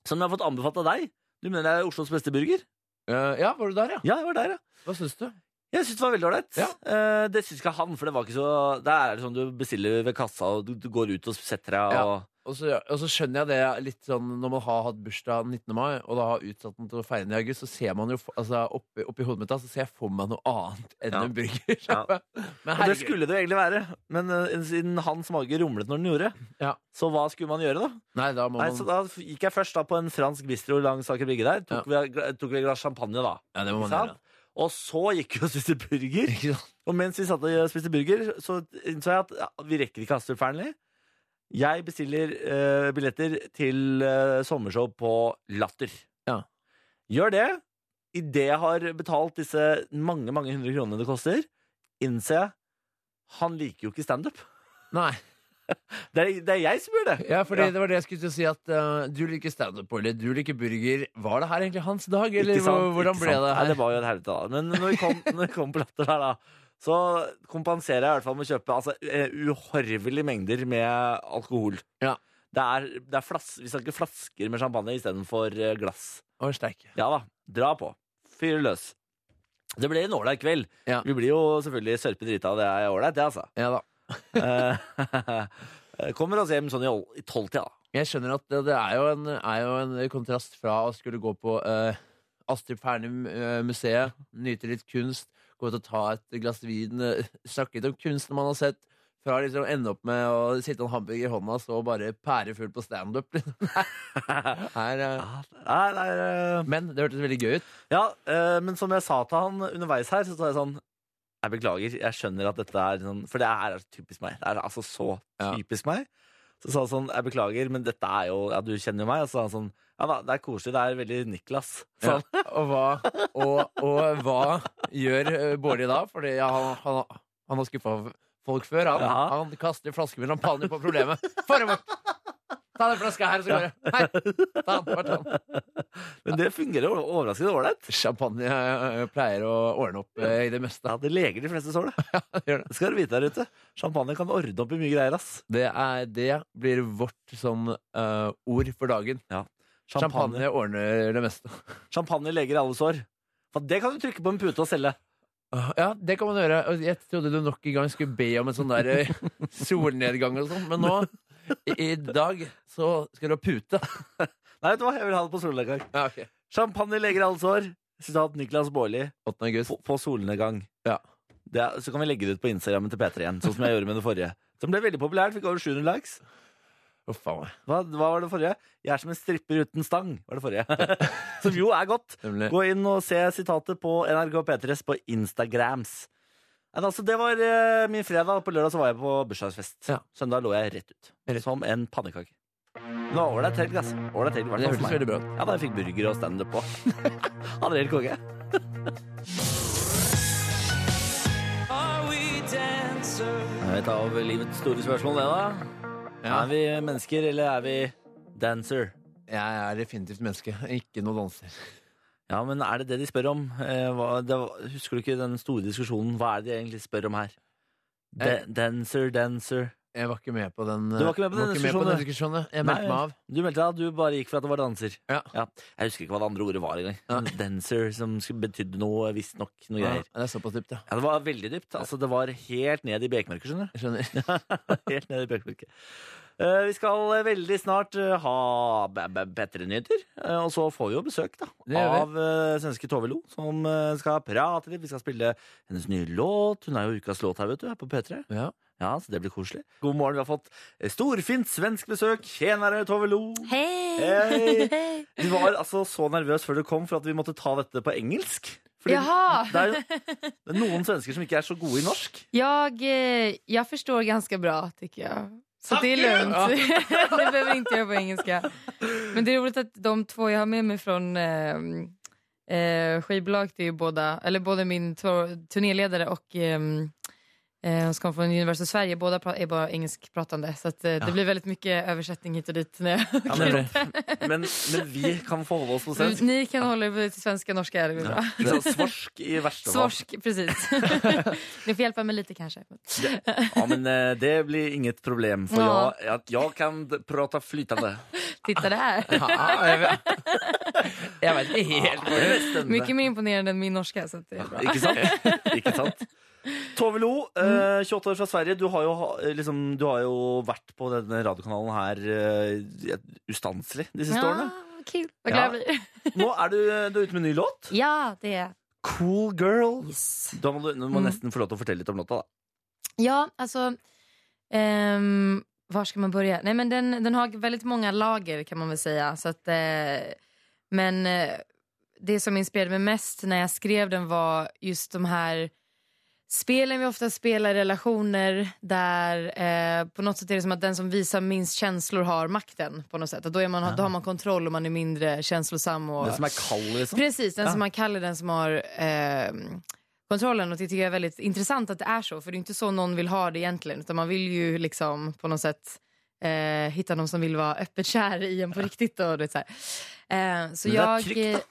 Speaker 3: som jeg har fått anbefalt av deg. Du mener det er Oslos beste burger?
Speaker 4: Eh, ja, var du der, ja?
Speaker 3: Ja, jeg var der, ja.
Speaker 4: Hva syns du?
Speaker 3: Jeg syns det var veldig ålreit.
Speaker 4: Ja.
Speaker 3: Eh, det syns ikke han, for det var ikke så Der er det sånn du bestiller ved kassa, og du, du går ut og setter deg
Speaker 4: Ja.
Speaker 3: og
Speaker 4: Og så, og så skjønner jeg det litt sånn når man har hatt bursdag 19. mai, og da har utsatt den til å feire den i august, så ser man jo for- altså, oppi, oppi hodet mitt da, så ser jeg for meg noe annet enn
Speaker 3: Ja.
Speaker 4: en burgersjappe. Men
Speaker 3: Og det
Speaker 4: herregud.
Speaker 3: skulle det jo egentlig være, men eh, siden hans mage rumlet når den gjorde,
Speaker 4: Ja.
Speaker 3: så hva skulle man gjøre, da?
Speaker 4: Nei, da må
Speaker 3: Nei,
Speaker 4: man,
Speaker 3: så da f- gikk jeg først da på en fransk bistro langs Aker Brygge der. Tok, vi, tok vi et glass champagne, da.
Speaker 4: ja, det må
Speaker 3: Ikke
Speaker 4: man gjøre.
Speaker 3: sant? Og så gikk vi og spiste burger.
Speaker 4: Ikke sant?
Speaker 3: Og mens vi satt og eh, spiste burger, så innså jeg at ja, vi rekker ikke Astrup Fearnley. Jeg bestiller eh, billetter til eh, sommershow på Latter.
Speaker 4: Ja.
Speaker 3: Gjør det. Idet jeg har betalt disse mange mange hundre kronene det koster, innser jeg han liker jo ikke standup.
Speaker 4: Nei.
Speaker 3: Det, er- det er jeg som gjør det.
Speaker 4: Ja, fordi
Speaker 3: Ja.
Speaker 4: det var det jeg skulle til å si, at eh, du liker standup, Olli. Du liker burger. Var det her egentlig hans dag, eller
Speaker 3: Ikke sant,
Speaker 4: hvor- hvordan
Speaker 3: ikke
Speaker 4: ble
Speaker 3: sant.
Speaker 4: det
Speaker 3: Nei,
Speaker 4: her?
Speaker 3: det var jo et helvete, da. Men når vi kom, når vi kom på Latter der, da, så kompenserer jeg i hvert fall med å kjøpe altså, eh, uhorvelige mengder med alkohol.
Speaker 4: Ja.
Speaker 3: Det er, det er flas, vi snakker flasker med champagne istedenfor eh, glass.
Speaker 4: Å, steik.
Speaker 3: Ja da, dra på. Fyr løs. Det ble en ålreit kveld.
Speaker 4: Ja.
Speaker 3: Vi blir jo selvfølgelig sørpe drita, det er ålreit, det, altså.
Speaker 4: Ja da.
Speaker 3: Eh, Kommer oss hjem sånn i ol- i tolvtida.
Speaker 4: Jeg skjønner at det, det er, jo en, er jo en kontrast fra å skulle gå på eh, Astrid Fearnum-museet, nyte litt kunst, gå ut og ta et glass vin, eh, snakke litt om kunsten man har sett, fra liksom å ende opp med å sitte en hamburger i hånda, så bare pærefull på standup. liksom. Her, eh,
Speaker 3: Ja, Nei, nei, eh,
Speaker 4: Men det hørtes veldig gøy ut.
Speaker 3: ja, eh, men som jeg sa til han underveis her, så sa jeg sånn Jeg beklager, jeg skjønner at dette er sånn For det her er så typisk meg. Det er altså så
Speaker 4: Ja.
Speaker 3: typisk meg. Så sa han sånn Jeg beklager, men dette er jo Ja, du kjenner jo meg. Og så sa han sånn Ja da, det er koselig. Det er veldig Niklas.
Speaker 4: Ja.
Speaker 3: Sånn.
Speaker 4: Og, hva, og, og hva gjør eh, Bårdli da? Fordi ja, han, han, han har skuffa folk før. Han,
Speaker 3: Ja.
Speaker 4: han kaster flasker med champagne på problemet. Få det bort! Ta den flaska her, så går det. Her! Ta den, bare ta den.
Speaker 3: Men det fungerer jo overraskende ålreit.
Speaker 4: Champagne eh, pleier å ordne opp eh, i det meste.
Speaker 3: Ja, det leger de fleste sår, det.
Speaker 4: Gjør det.
Speaker 3: Det skal dere vite der ute. Champagne kan ordne opp i mye greier, ass.
Speaker 4: Det, er, det blir vårt sånn eh, ord for dagen.
Speaker 3: Champagne,
Speaker 4: Champagne ordner det meste.
Speaker 3: Champagne leger alle sår. For det kan du trykke på en pute og selge.
Speaker 4: Ja, det kan man gjøre. Og Jeg trodde du nok en gang skulle be om en sånn der eh, solnedgang og sånn, men nå i, I dag så skal du ha pute.
Speaker 3: Nei, vet du hva, jeg vil ha det på solnedgang.
Speaker 4: Ja, ok.
Speaker 3: Champagne leger alle sår. Sitat Niklas Baarli
Speaker 4: 8. august.
Speaker 3: på, på solnedgang.
Speaker 4: Ja.
Speaker 3: Det er, så kan vi legge det ut på Instagrammen til P3 igjen, sånn som jeg gjorde med det forrige. Som ble veldig populært, fikk over 700 likes.
Speaker 4: Uff a meg.
Speaker 3: Hva, hva var det forrige? Jeg er som en stripper uten stang, var det forrige. som jo er godt.
Speaker 4: Nemlig.
Speaker 3: Gå inn og se sitatet på NRK P3s på Instagrams. Nei, altså, det var eh, min fredag. På lørdag så var jeg på bursdagsfest.
Speaker 4: Ja.
Speaker 3: Søndag lå jeg rett ut.
Speaker 4: Rett ut.
Speaker 3: Som en pannekake. Det var ålreit helg, altså. Ålreit helg, i hvert
Speaker 4: Det
Speaker 3: fall for
Speaker 4: hørtes
Speaker 3: meg.
Speaker 4: veldig bra ut.
Speaker 3: Ja, da jeg fikk burger og standup på. Hadde det helt konge. Jeg tar av livets store spørsmål, det, da.
Speaker 4: Ja.
Speaker 3: Er vi mennesker, eller er vi dancer?
Speaker 4: Jeg er definitivt menneske, ikke noe danser.
Speaker 3: Ja, men er det det de spør om? Eh, hva, det, var- husker du ikke den store diskusjonen? Hva er det de egentlig spør om her? Da-
Speaker 4: Eh.
Speaker 3: dancer, dancer.
Speaker 4: Jeg var ikke med på den eh,
Speaker 3: Du var ikke med på den diskusjonen,
Speaker 4: diskusjonen. Jeg meldte meg av.
Speaker 3: Du meldte deg av, du bare gikk for at det var danser.
Speaker 4: Ja.
Speaker 3: Jeg husker ikke hva det andre ordet var engang.
Speaker 4: Ja.
Speaker 3: Dancer, som skulle- betydde noe, visstnok noe
Speaker 4: Ja,
Speaker 3: greier.
Speaker 4: det er såpass dypt, ja.
Speaker 3: Ja, det var veldig dypt. Altså, det var helt ned i bekmørket, skjønner
Speaker 4: Jeg skjønner.
Speaker 3: du. helt ned i bekmørket. Eh, vi skal eh, veldig snart eh, ha b- b- bedre nyheter, eh, og så får vi jo besøk da,
Speaker 4: Det gjør vi.
Speaker 3: av eh, svenske Tove Lo, som eh, skal prate litt. Vi skal spille hennes nye låt. Hun er jo ukas låt her, vet du, her på P3.
Speaker 4: Ja.
Speaker 3: Ja, så det blir koselig. God morgen, vi har fått eh, storfint svensk besøk. Tjenere, Tove Lo.
Speaker 2: Hei!
Speaker 3: Hei!
Speaker 2: Hei.
Speaker 3: Du var altså så nervøs før du kom for at vi måtte ta dette på engelsk. Fordi
Speaker 2: Jaha!
Speaker 3: det er jo det er noen svensker som ikke er så gode i norsk.
Speaker 2: Jag, eh, jag förstår ganska bra, tycker jag. Så det är lugnt. det behöver inte jag på engelska. Men det är roligt att de två jag har med mig från eh, eh, skivbolaget är ju båda, eller både min tur- turnéledare och ehm, eh, hon som kommer från Universal Sverige, båda pra- är bara engelskpratande. Så att, eh, det blir väldigt mycket översättning hit och dit. När jag
Speaker 3: Ja, men, men, men vi kan forholde oss på svensk.
Speaker 2: Ni kan hålla er till svenska, norska. Det blir bra.
Speaker 3: Ikke sant? Svorsk i verste fall.
Speaker 2: Svorsk, precis. Ni får hjälpa mig lite kanske.
Speaker 3: Ja, men eh, det blir inget problem, for
Speaker 2: Ja.
Speaker 3: jeg, at jeg kan d- prate flytende.
Speaker 2: Titta där.
Speaker 4: Ja, Ah, jeg vet- jeg vet ikke helt hvor det
Speaker 2: Mycket mer imponerande än min norska. Så att det är bra.
Speaker 3: Ikke sant? Ikke sant? Tove Lo, eh, 28 år fra Sverige. Du har jo, ha- eh, liksom, du har jo vært på denne radiokanalen her eh, ustanselig de siste
Speaker 2: Ja,
Speaker 3: årene.
Speaker 2: vad kul. Vad glad jag
Speaker 3: Ja.
Speaker 2: blir.
Speaker 3: Nå er du, eh, du er ute med en ny låt.
Speaker 2: Ja, det är
Speaker 3: Cool Girl.
Speaker 2: yes.
Speaker 3: Da må du du må
Speaker 2: Mm.
Speaker 3: nesten få lov til å fortelle litt om låta. da.
Speaker 2: Ja, alltså... ehm, var ska man börja? Nej, men den, den har väldigt många lager kan man väl säga. Så att, eh, men eh, det som inspirerade mig mest när jag skrev den var just de här spelen vi ofta spelar i relationer där eh, på något sätt är det som att den som visar minst känslor har makten på något sätt. Att då, är man, då har man kontroll och man är mindre känslosam. Och,
Speaker 3: Den som er kald, liksom.
Speaker 2: Precis, den som man kallar den som har ehm, kontrollen. Och det tycker jag är väldigt intressant att det är så. För det är inte så någon vill ha det egentligen. Utan man vill ju liksom på något sätt eh, hitta någon som vill vara öppet kär i en på riktigt. Och, du vet, så här. Eh, så
Speaker 3: Men det är
Speaker 2: jag...
Speaker 3: tryggt, då.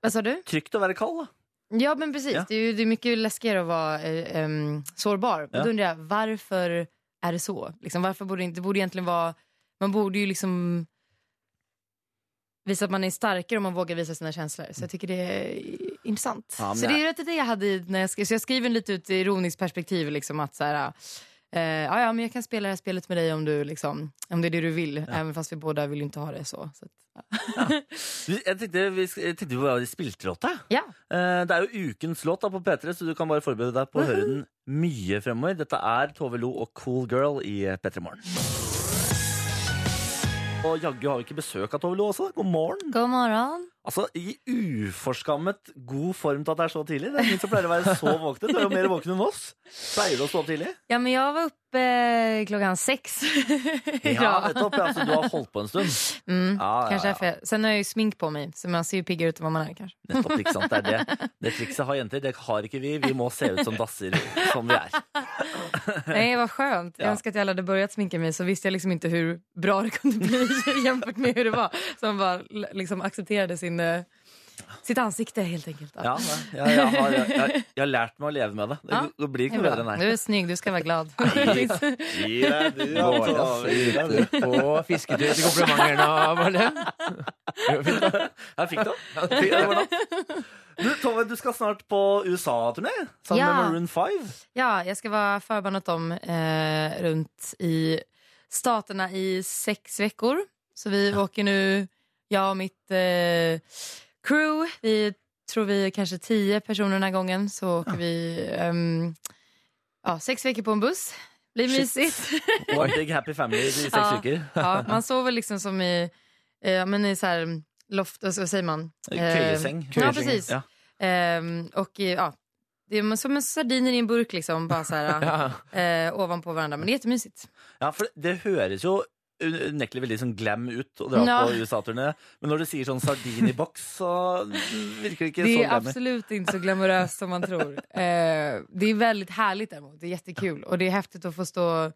Speaker 2: vad sa du?
Speaker 3: Trygt å være kald, da.
Speaker 2: Ja men precis,
Speaker 3: Ja.
Speaker 2: Det, är ju, det är mycket läskigare att vara eh, ehm, sårbar.
Speaker 3: Ja.
Speaker 2: Då undrar jag, varför är det så? Liksom, varför borde det inte, det borde egentligen vara, man borde ju liksom visa att man är starkare om man vågar visa sina känslor. Så jag tycker det är intressant.
Speaker 3: Ja, men
Speaker 2: så
Speaker 3: det
Speaker 2: det
Speaker 3: är-
Speaker 2: är rätt det jag hade i när jag skrev. Så jag skriver lite ut i ironiskt perspektiv liksom att så här, eh, ja, ja, men jag kan spela det här spelet med dig om du liksom, om det är det du vill. Även fast vi båda vill ju inte ha det så. så att,
Speaker 3: Jeg tenkte vi, sk- jeg tenkte vi bare spilte låta.
Speaker 2: ja.
Speaker 3: Eh, Det er jo ukens låt da på P3, så du kan bare forberede deg på å høre den mye fremover. Dette er Tove Lo og Cool Girl i P3 Morgen. Og jaggu har vi ikke besøk av Tove Lo også. God morgen.
Speaker 2: God morgon.
Speaker 3: Altså, I uforskammet god form til at det er så tidlig. Det er ingen som pleier å være så våkne. Du er jo mer våken enn oss. Pleier du å stå opp tidlig?
Speaker 2: Ja, men jag var uppe eh, klockan sex.
Speaker 3: Ja, nettopp. Ja, så du har holdt på en stund.
Speaker 2: Mm,
Speaker 3: Ja, ja,
Speaker 2: kanske
Speaker 3: ja.
Speaker 2: därför jag- Sen har jag ju smink på mig, så man ser ju piggare ut än vad man är kanske.
Speaker 3: Nettopp, ikke sant? Det er det. Det trikset har jenter. Det har ikke vi. Vi må se ut som dasser som vi er.
Speaker 2: Nej, vad skönt.
Speaker 3: Ja.
Speaker 2: Jag önskar att jag aldrig hade börjat sminka mig så visste jag liksom inte hur bra det kunde bli jämfört med hur det var. Så man bara l- liksom accepterade sin, eh, sitt ansikte helt enkelt.
Speaker 3: Ja, ja, jeg, har, jeg, jeg, jeg har lært meg å leve med det. Det,
Speaker 2: Ja,
Speaker 3: det blir
Speaker 2: Det
Speaker 3: ikke
Speaker 2: är
Speaker 3: noe bedre,
Speaker 2: bra.
Speaker 3: nei.
Speaker 2: Du är snygg, du ska vara glad.
Speaker 3: Gi deg, du,
Speaker 4: Går jeg så ut på fisketur til komplimenter nå, Valle?
Speaker 3: Jeg fikk den. Jeg fikk den. Det var natt. Du, Tove, du skal snart på USA-turné sammen
Speaker 2: Ja.
Speaker 3: med Maroon 5.
Speaker 2: Ja, jag ska vara förbandat om eh, runt i staterna i sex veckor. Så vi åker nu, jag och mitt eh, crew, vi tror vi är kanske tio personer den här gången, så åker vi ehm, ja, sex veckor på en buss. Blir
Speaker 3: Shit.
Speaker 2: mysigt.
Speaker 3: One Big Happy Family i seks
Speaker 2: Ja.
Speaker 3: uker.
Speaker 2: ja, man sover liksom som i, eh, ja, men i så här loft, alltså, vad säger man?
Speaker 3: Køyeseng.
Speaker 2: Eh, Ja, precis.
Speaker 3: Eh, Ja.
Speaker 2: Ehm, och eh, ja, det är som en sardiner i en burk liksom, bara så här,
Speaker 4: Ja.
Speaker 2: eh, ovanpå varandra. Men det är jättemysigt.
Speaker 3: Ja, for det høres jo unektelig veldig sånn glam ut å dra
Speaker 2: Ja.
Speaker 3: på USA-turné, men når du sier sånn sardin i boks, så virker det ikke
Speaker 2: Det
Speaker 3: så
Speaker 2: är
Speaker 3: glammy.
Speaker 2: absolut inte så glamoröst som man tror. Eh, det är väldigt härligt däremot. Det är jättekul. Och det är häftigt att få stå,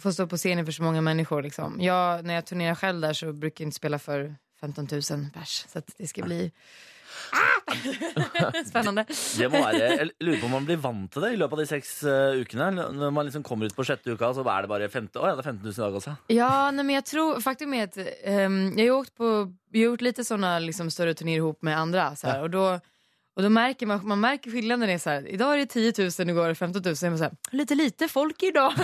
Speaker 2: få stå på scenen för så många människor. Liksom. Jag, när jag turnerar själv där så brukar jag inte spela för 15 000 pers. Så att det ska bli ah! spännande.
Speaker 3: Det må være, Jeg lurer på om man blir vant til det i løpet av de seks eh, ukene. Når man liksom kommer ut på sjette uka, så er det bare femte. Å ja, det er 15 000 i dag også.
Speaker 2: Ja, nej, men jag tror, faktum är att ehm, jag har ju åkt på, jag har gjort lite sådana liksom, större turnéer ihop med andra. Så här, och, då, och då mærker man, man märker skillnaden är så här, idag är det 10 000, igår är det 15 000. Så är man så här, lite lite folk idag.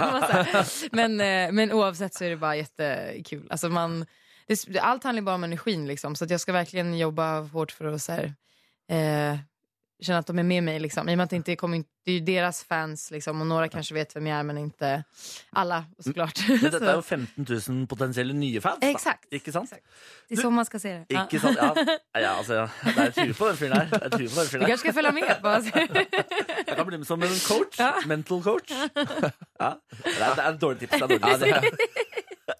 Speaker 2: Man så här, men, eh, men oavsett så är det bara jättekul. Alltså man, det, allt handlar ju bara om energin liksom, så att jag ska verkligen jobba hårt för att så här, eh, känna att de är med mig. Liksom. I och med att det, inte kommer, in- det är ju deras fans liksom, og några kanske vet vem jag är men inte alla såklart.
Speaker 3: Men dette
Speaker 2: Så-
Speaker 3: er jo 15 000 potensielle nye fans. Da.
Speaker 2: Exakt.
Speaker 3: Ikke sant?
Speaker 2: Det är så man ska se det. Ja.
Speaker 3: Ikke sant? Ja, ja altså, det er tur på den fyren her. Det er tur på den
Speaker 2: Du
Speaker 3: fyren her.
Speaker 2: kanske ska följa med? Bara.
Speaker 3: Jeg kan bli med som en coach. Mental coach. Ja. Det er, det er et dårlig tips. Det er et dårlig tips.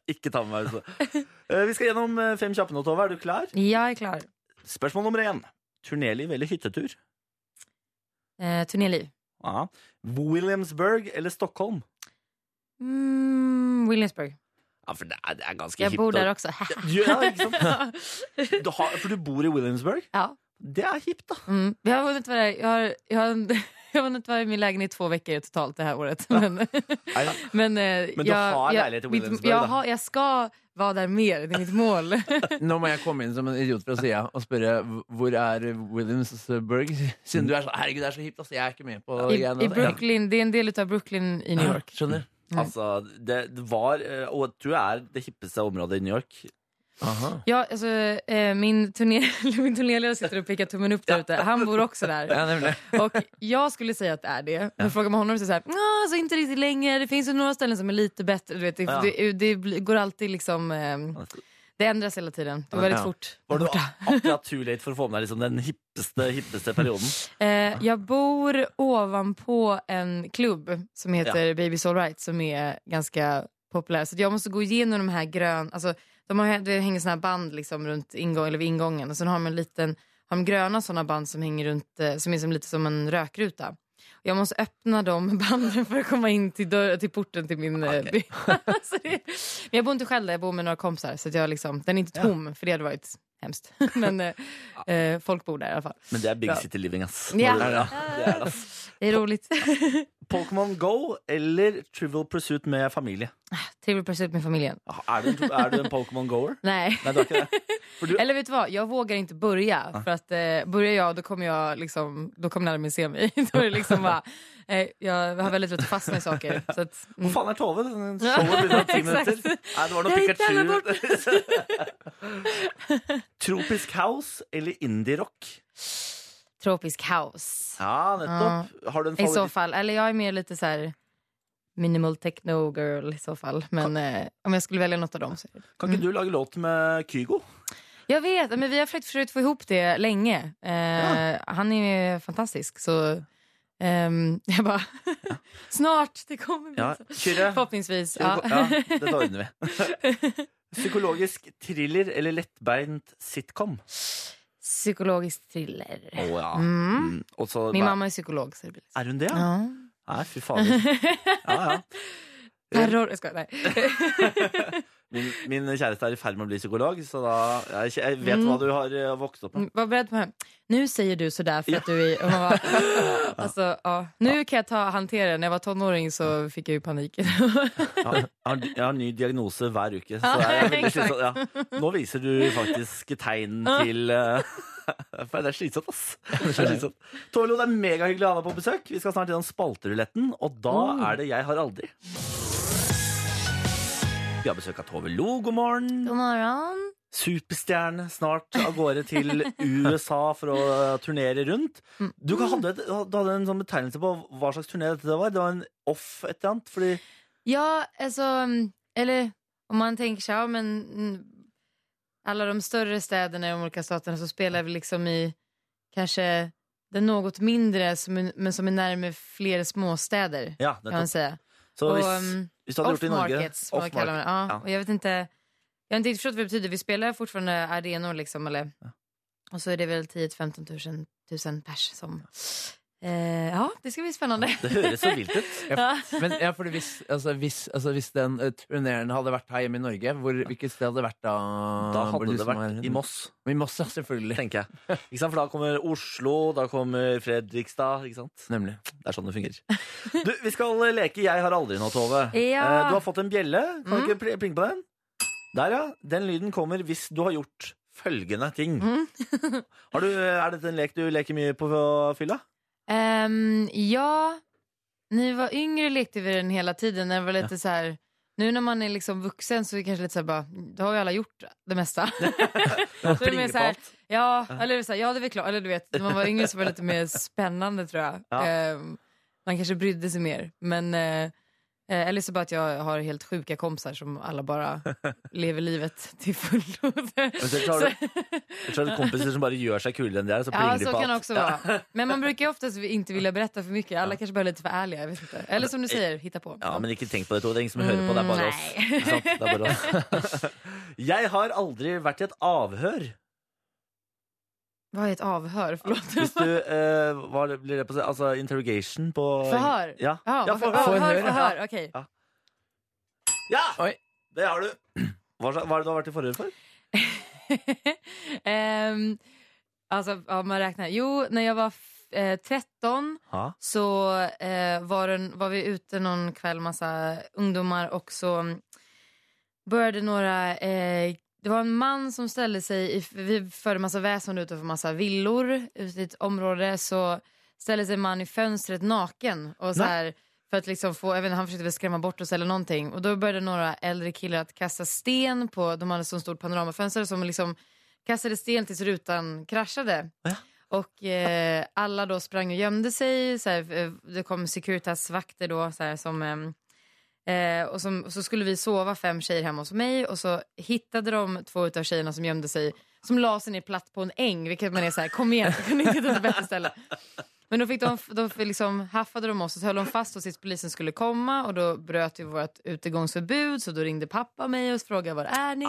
Speaker 3: Ikke ta med meg altså. Eh, Vi skal gjennom eh, fem kjappe nå, Tove. Er du klar?
Speaker 2: Jag är klar.
Speaker 3: Spørsmål nummer én. Turnéliv eller hyttetur?
Speaker 2: Eh, turnéliv.
Speaker 3: Ja. Williamsburg eller Stockholm?
Speaker 2: Mm, Williamsburg.
Speaker 3: Ja, for det er, det er ganske
Speaker 2: Jag
Speaker 3: hipt.
Speaker 2: bor
Speaker 3: å-
Speaker 2: där också.
Speaker 3: Ja, ikke sant? Du har, for du bor i Williamsburg?
Speaker 2: ja.
Speaker 3: Det er hipt, da.
Speaker 2: mm. Jag har hunnit vara där- jag har, jag har, jag har hunnit vara i min lägenhet i två veckor totalt det här året. Men, men, eh,
Speaker 3: Men du
Speaker 2: jag,
Speaker 3: har
Speaker 2: jag,
Speaker 3: lägenhet i
Speaker 2: mitt-
Speaker 3: Williamsburg,
Speaker 2: jag,
Speaker 3: då?
Speaker 2: har, jag ska vara där mer, det är mitt mål.
Speaker 4: Nå må jeg komme inn som en idiot fra sida og spørre "Hv- hvor er Williamsburg? Siden du er så Herregud, det er så hipt, altså. Jeg er ikke med på
Speaker 2: I,
Speaker 4: greiene
Speaker 2: i
Speaker 4: der."
Speaker 2: Brooklyn, det är en del av Brooklyn i New
Speaker 4: Ja.
Speaker 2: York.
Speaker 4: Skjønner.
Speaker 3: Altså, det var, eh, og jeg tror det er det hippeste området i New York.
Speaker 4: Aha.
Speaker 2: Ja, alltså, eh, min, turné, min turnéledare sitter och pekar tummen upp där ute. Han bor också där.
Speaker 4: Ja, nemlig.
Speaker 2: Och jag skulle säga att det är det. Men frågar man honom så säger han "Nja, alltså inte riktigt längre. Det finns ju några ställen som är lite bättre. Du vet, det,
Speaker 3: Ja.
Speaker 2: det, det blir- går alltid liksom... Eh, det ändras hela tiden. Det går väldigt
Speaker 4: Ja.
Speaker 2: fort.
Speaker 3: Var du akkurat too late for å få med deg liksom, den hippeste, hippeste perioden?
Speaker 2: Eh, jag bor ovanpå en klubb som heter Babies Alright som är ganska populär. Så att jag måste gå igenom de här gröna... Alltså, de har, det hänger såna här band liksom runt ingång, eller vid ingången och sen har de en liten... Har de gröna såna band som hänger runt, eh, som är som lite som en rökruta. Och Jag måste öppna de banden för att komma in till, dörr, till porten till min eh, by. så det, men jag bor inte själv där, jag bor med några kompisar. Så att jeg liksom, den är inte tom, för det hade varit hemskt. men eh, eh, folk bor där i alla fall.
Speaker 3: Men det er big
Speaker 2: Ja.
Speaker 3: city living, ass.
Speaker 2: Ja.
Speaker 3: Når du- det er det, ass.
Speaker 2: Det är roligt.
Speaker 3: Pokémon Go eller Trivial Pursuit med familie? Ah,
Speaker 2: Trivial Pursuit med familjen.
Speaker 3: Er du en, er du en Pokémon goer?
Speaker 2: Nej.
Speaker 3: Nei, du er ikke det. For du,
Speaker 2: Eller vet du vad, jag vågar inte börja. För att eh, börjar jag då kommer jag liksom, då kommer alla min se mig. då är det liksom bara, eh, jag har väldigt lätt att fastna i saker. Så att,
Speaker 3: hvor
Speaker 2: mm.
Speaker 3: faen er Tove? Den Showet begynner om ti
Speaker 2: Exakt.
Speaker 3: minutter. Nei, det var
Speaker 2: Jeg gikk der
Speaker 3: noe Pikachu. Tropisk House eller indie-rock?
Speaker 2: Tropisk kaos.
Speaker 3: Ja, nettopp. Har du en
Speaker 2: I så
Speaker 3: favoritt?
Speaker 2: fall. Eller jag är mer lite så här minimal techno girl i så fall. Men eh, om jag skulle välja något av dem så
Speaker 3: Kan
Speaker 2: Mm.
Speaker 3: ikke du lage låt med Kygo?
Speaker 2: Jag vet, men vi har försökt, försökt få ihop det länge. Eh, Han är ju fantastisk. Så ehm, jag bara, snart, det kommer bli
Speaker 3: Ja,
Speaker 2: så.
Speaker 3: Kyrre.
Speaker 2: Förhoppningsvis.
Speaker 3: Ja.
Speaker 2: Ja.
Speaker 3: dette ordner vi. Psykologisk thriller eller lettbeint sitcom?
Speaker 2: Psykologisk thriller.
Speaker 3: Å ja.
Speaker 2: Mm.
Speaker 3: Mm. Og så,
Speaker 2: Min mamma är psykolog. Så det blir liksom.
Speaker 3: Er hun det? Ja?
Speaker 2: ja.
Speaker 3: Nei, fy fader. Ja, ja.
Speaker 2: Terror. Jag skojar, nej.
Speaker 3: Min, min kjæreste er i ferd med å bli psykolog, så da Jeg, kj- jeg vet hva du har eh, vokst opp med.
Speaker 2: Mm, Var beredd på det. Nu säger du sådär för att du är... Och man bara, alltså, ja. Nu kan jag ta, hantera det. När jag var tonåring så fick jag ju panik.
Speaker 3: Jeg har, jeg har- jeg har ny diagnose hver uke, så det er veldig
Speaker 2: exakt.
Speaker 3: slitsomt. Ja. Nå viser du faktisk tegn til eh, For det er slitsomt, ass. Det er slitsomt. Tove Lo, det er megahyggelig å ha deg på besøk. Vi skal snart gjennom spalteruletten, og da er det Jeg har aldri. Vi har besøk av Tove Lo. God morgen.
Speaker 2: God morgon.
Speaker 3: superstjerne snart av gårde til USA for å turnere rundt. Du hadde, et- du hadde en sånn betegnelse på hva slags turné dette var. Det var en off et eller annet. Fordi
Speaker 2: Ja, alltså... mm, Eller om man tänker så här, ja, men... mm, Alla de större städerna i de olika staterna så spelar vi liksom i kanske den något mindre som är, men som är närmare fler småstäder.
Speaker 3: ja, um,
Speaker 2: Kan man
Speaker 3: nettopp.
Speaker 2: säga.
Speaker 3: Så
Speaker 2: Och,
Speaker 3: hvis,
Speaker 2: mm,
Speaker 3: hvis du hadde gjort det i Norge
Speaker 2: Off-markets, vad man kallar man det. Ja,
Speaker 3: Ja.
Speaker 2: Och jag vet inte, jag har inte riktigt förstått vad det betyder. Vi spelar fortfarande arenor liksom, eller? Och så är det väl 10-15 tusen, tusen pers som... Eh, ja, det ska bli spännande.
Speaker 3: Det høres så vilt ut.
Speaker 2: Ja.
Speaker 4: Men ja, fordi hvis, altså, hvis, altså, hvis den uh, turneren hadde vært her hjemme i Norge, hvor, hvilket sted hadde det liksom vært da?
Speaker 3: Da
Speaker 4: hvor
Speaker 3: hadde
Speaker 4: du
Speaker 3: det
Speaker 4: som er-
Speaker 3: vært i Moss,
Speaker 4: I Moss, ja, selvfølgelig.
Speaker 3: tenker jeg. Ikke sant? For da kommer Oslo, da kommer Fredrikstad. Ikke sant?
Speaker 4: Nemlig.
Speaker 3: Det er sånn det fungerer. Du, vi skal leke Jeg har aldri nå, Tove.
Speaker 2: Ja. Mm.
Speaker 3: Eh, Du har fått en bjelle. Kan du ikke pl- plinge på den? Der, ja. Den lyden kommer hvis du har gjort følgende ting.
Speaker 2: Mm.
Speaker 3: har du, er dette en lek du leker mye på fylla?
Speaker 2: Ehm, ja, när vi var yngre lekte vi den hela tiden. När det var lite så här, nu när man är liksom vuxen så är det kanske lite så här bara, då har ju alla gjort det mesta. Så det är mer
Speaker 3: Plinge
Speaker 2: så
Speaker 3: på
Speaker 2: här,
Speaker 3: alt.
Speaker 2: Ja, eller så här, ja det är väl klart. Eller du vet, när man var yngre så var det lite mer spännande tror jag.
Speaker 3: Ja.
Speaker 2: Ehm, man kanske brydde sig mer. Men, eh, eh, eller så bara att jag har helt sjuka kompisar som alla bara lever livet til fullo.
Speaker 3: Men så har du- Ellers er det kompiser som bare gjør seg kulere enn de er, så
Speaker 2: Ja,
Speaker 3: plinger de
Speaker 2: så
Speaker 3: på
Speaker 2: kan det
Speaker 3: alt.
Speaker 2: också vara. Men man brukar ju oftast inte vilja berätta för mycket. Alla kanske bara är lite för ærlige, Jeg vet inte. Eller som du säger, hitta på.
Speaker 3: Ja, men ikke tenk på det, Tove. Det er ingen som hører på. Det er bare
Speaker 2: Mm,
Speaker 3: oss.
Speaker 2: nei.
Speaker 3: Ikke sant? Det er bare oss. Jeg har aldri vært i et avhør.
Speaker 2: Vad är ett avhör? Förlåt.
Speaker 3: Hvis du eh, Hva blir det på å si? Altså interrogation på
Speaker 2: Förhör?
Speaker 3: Ja,
Speaker 2: Ja,
Speaker 3: ja forhør.
Speaker 2: varför- avhör,
Speaker 4: Forhör, ja.
Speaker 2: förhör. Okej.
Speaker 3: Ja!
Speaker 4: Oi.
Speaker 3: Det har du. Hva, sla- hva er det du har vært i forhør for?
Speaker 2: Ehm, alltså, ja, man räknar. Jo, när jag var f- eh, 13
Speaker 3: Ja.
Speaker 2: så eh, var, den, var vi ute någon kväll, massa ungdomar och så mm, började några... Eh, det var en man som ställde sig, i, vi förde massa väsen utanför massa villor ute i ett område, så ställde sig en man i fönstret naken och så
Speaker 3: Nej.
Speaker 2: här, för att liksom få, jag vet inte, han försökte väl skrämma bort oss eller någonting och då började några äldre killar att kasta sten på, de hade så stort panoramafönster som liksom kastade sten tills rutan kraschade. Och eh, alla då sprang och gömde sig. Så här, eh, det kom Securitas-vakter då. Så här, som, ehm, eh, och som, och så skulle vi sova fem tjejer hemma hos mig. Och så hittade de två utav tjejerna som gömde sig. Som la sig ner platt på en äng. Vilket man är så här, kom igen, vi kunde inte hitta ett bättre ställe. Men då, fick de, då fick liksom haffade de oss och så höll de fast oss tills polisen skulle komma. Och då bröt vi vårt utegångsförbud. Så då ringde pappa mig och frågade var är ni?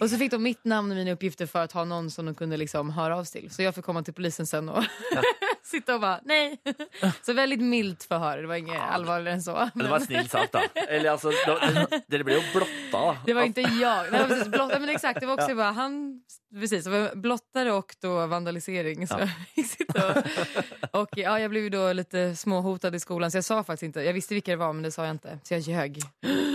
Speaker 2: Och så fick de mitt namn och mina uppgifter för att ha någon som de kunde liksom höra av sig till. Så jag fick komma till polisen sen och Sitta och bara nej. Så väldigt milt förhör, det var inget allvarligare än så.
Speaker 3: Men det var snill sagt, da. Eller altså, da, dere ble jo blotta, da.
Speaker 2: Det var inte jag. Nej, precis, blott, men exakt, det var också bara han, precis, det var blottare och då vandalisering. Så jag sitter och, och ja, jag blev ju då lite småhotad i skolan så jag sa faktiskt inte, jag visste vilka det var men det sa jag inte. Så jag ljög.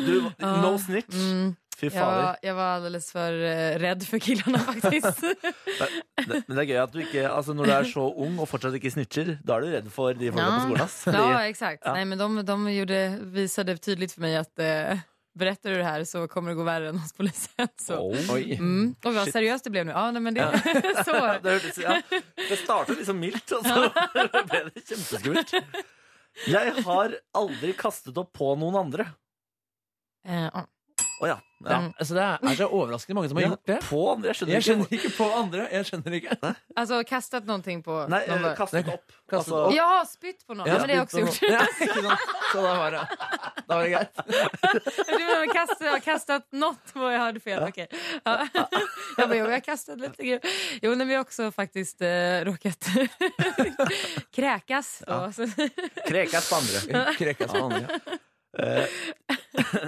Speaker 3: Du, no
Speaker 2: Ja.
Speaker 3: snitch.
Speaker 2: Mm,
Speaker 3: Fy
Speaker 2: jag,
Speaker 3: fader.
Speaker 2: var, jag var alldeles för eh, rädd för killarna faktiskt.
Speaker 3: Det- Men det er gøy at du ikke altså Når du er så ung og fortsatt ikke snitcher, da er du redd for de folka på skolen. Ass.
Speaker 2: Ja,
Speaker 3: De,
Speaker 2: exakt.
Speaker 3: Ja.
Speaker 2: Nej, men de, de gjorde, visade tydligt för mig att eh, berättar du det här så kommer det gå värre än hos polisen. Så.
Speaker 3: oh.
Speaker 4: Oi.
Speaker 2: Mm. Och vad
Speaker 3: Shit.
Speaker 2: seriöst det blev nu. Ja, nej, men det, så var det.
Speaker 3: Det, hørtes- ja. det starta liksom mildt, og så ble det kjempeskummelt. Jeg har aldri kastet opp på noen andre.
Speaker 2: Eh, ja.
Speaker 3: Å ja. ja.
Speaker 2: Mm.
Speaker 4: Altså, det er så overraskende mange som har
Speaker 3: Ja,
Speaker 4: gjort det.
Speaker 3: På andre, jeg skjønner
Speaker 4: Jeg
Speaker 3: ikke.
Speaker 4: skjønner ikke på andre. Jeg skjønner ikke.
Speaker 2: Alltså kastat någonting på
Speaker 3: Nei,
Speaker 2: någon.
Speaker 3: eh,
Speaker 2: bara-
Speaker 3: kastet opp.
Speaker 4: Kastet
Speaker 3: Altså,
Speaker 4: opp.
Speaker 2: Jag har spytt på någon. Ja, men det har jag också gjort.
Speaker 4: Ja, ikke sant? Så da var det, da var det greit.
Speaker 2: Du menar kastat, jag har kastat något vad jag hörde fel. Okej. Ja. Jag bara, jo, jag kastade lite grejer. Jo, men vi har också faktiskt eh, råkat kräkas. Då. Så,
Speaker 3: Krekas på andre.
Speaker 4: Krekas på andre.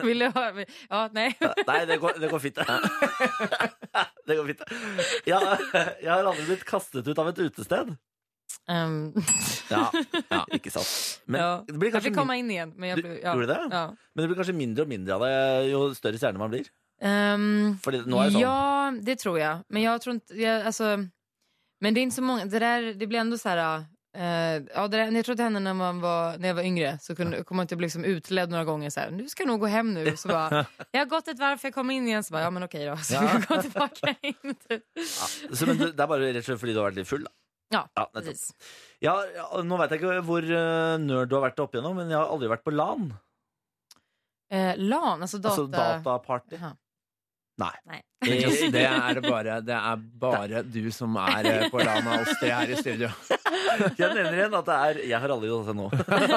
Speaker 2: vill du ha, ja, nej.
Speaker 3: Nei, det går, det går fint. det går fint. Ja, jeg har aldri blitt kastet ut av et utested.
Speaker 2: Ehm,
Speaker 3: Ja, Ikke sant. Men
Speaker 2: ja.
Speaker 3: det blir
Speaker 2: Jag
Speaker 3: kanskje
Speaker 2: fick komma in igen. Men jag
Speaker 3: Du-
Speaker 2: blev, ja.
Speaker 3: gjorde det?
Speaker 2: Ja.
Speaker 3: Men det blir kanskje mindre og mindre av det jo større stjerne man blir.
Speaker 2: Ehm,
Speaker 3: Fordi nå er det sånn.
Speaker 2: Ja, det tror jag. Men jag tror inte, jag, alltså, men det är inte så många, det där, det blir ändå så här, eh, ja, det där, jag tror det hände när, man var, när jag var yngre, så kunde, kom man att jag blev liksom utledd några gånger så här, du ska nog gå hem nu. Så bara, jag har gått ett varv, för jag kom in igen, så bara, ja men okej då. Så
Speaker 3: Ja.
Speaker 2: jag går tillbaka in. typ.
Speaker 3: Så, men det det er bare rett og slett fordi du har vært litt full, da.
Speaker 2: Ja,
Speaker 3: Ja, nettopp.
Speaker 2: precis.
Speaker 3: Ja, ja, nå veit jeg ikke hvor eh, nerd du har vært opp igjennom, men jeg har aldri vært på LAN.
Speaker 2: Eh, LAN, alltså data...
Speaker 3: Altså dataparty.
Speaker 2: Jaha.
Speaker 3: Nei.
Speaker 2: Nej.
Speaker 4: Det, det, er det bare, det er bare du som er eh, på Lana oss tre her i studio.
Speaker 3: Jeg nevner igjen at det er Jeg har aldri gjort det nå.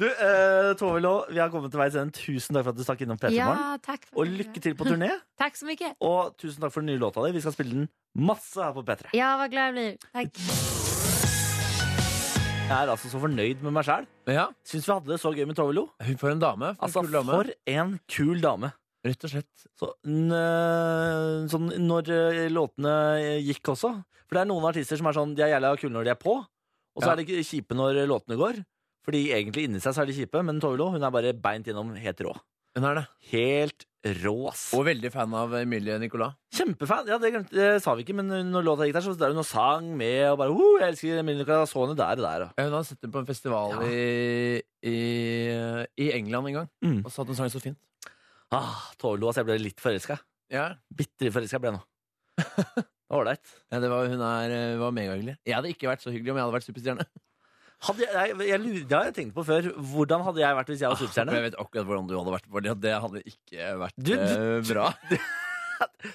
Speaker 3: du, eh, Tove Lå, vi har kommet til veis ende. Tusen takk for at du stakk innom P3 Morgen.
Speaker 2: Ja, tack. För
Speaker 3: Og
Speaker 2: det.
Speaker 3: lykke til på turné.
Speaker 2: Tack så mycket.
Speaker 3: Og tusen takk for den nye låta di. Vi skal spille den masse her på P3.
Speaker 2: Ja, vad glad jag blir. Tack.
Speaker 3: Jeg er altså så fornøyd med meg sjæl.
Speaker 4: Men ja,
Speaker 3: Syns vi hadde det så gøy med Tove Lo.
Speaker 4: hun får en dame. For en
Speaker 3: Altså,
Speaker 4: kul dame.
Speaker 3: for en kul dame.
Speaker 4: Rett og slett.
Speaker 3: Så, n- øh, sånn når øh, låtene øh, gikk også. For det er noen artister som er sånn De er jævla kule når de er på, og så
Speaker 4: Ja.
Speaker 3: er de ikke kjipe når låtene går. Fordi egentlig inni seg så er de kjipe, men Tove Lo hun er bare beint gjennom helt rå.
Speaker 4: Hun er det.
Speaker 3: Helt rå, ass.
Speaker 4: Og veldig fan av Emilie Nicolas.
Speaker 3: Kjempefan. Ja, det, glemte, det sa vi ikke, men når låta gikk der, så der hun og sang med og bare oh, jeg elsker Emilie Nicolas», så henne der og der. og-
Speaker 4: Ja, Hun hadde sett henne på en festival
Speaker 3: Ja.
Speaker 4: i, i, i England en gang,
Speaker 3: Mm.
Speaker 4: og så hadde hun sang så fint.
Speaker 3: Ah, Tove Lo, ass, jeg ble litt forelska.
Speaker 4: Ja,
Speaker 3: Bitte litt forelska ble jeg nå. Ålreit.
Speaker 4: ja det var, Hun er, eh, var megahyggelig. Jeg hadde ikke vært så hyggelig om jeg hadde vært superstjerne.
Speaker 3: Hadde jeg, jeg, jeg, lurer- det har jeg tenkt på før. Hvordan hadde jeg vært hvis
Speaker 4: Ah,
Speaker 3: jeg var superstjerne?
Speaker 4: Jeg vet akkurat hvordan du hadde vært. Fordi at det hadde ikke vært
Speaker 3: Du-
Speaker 4: eh, bra.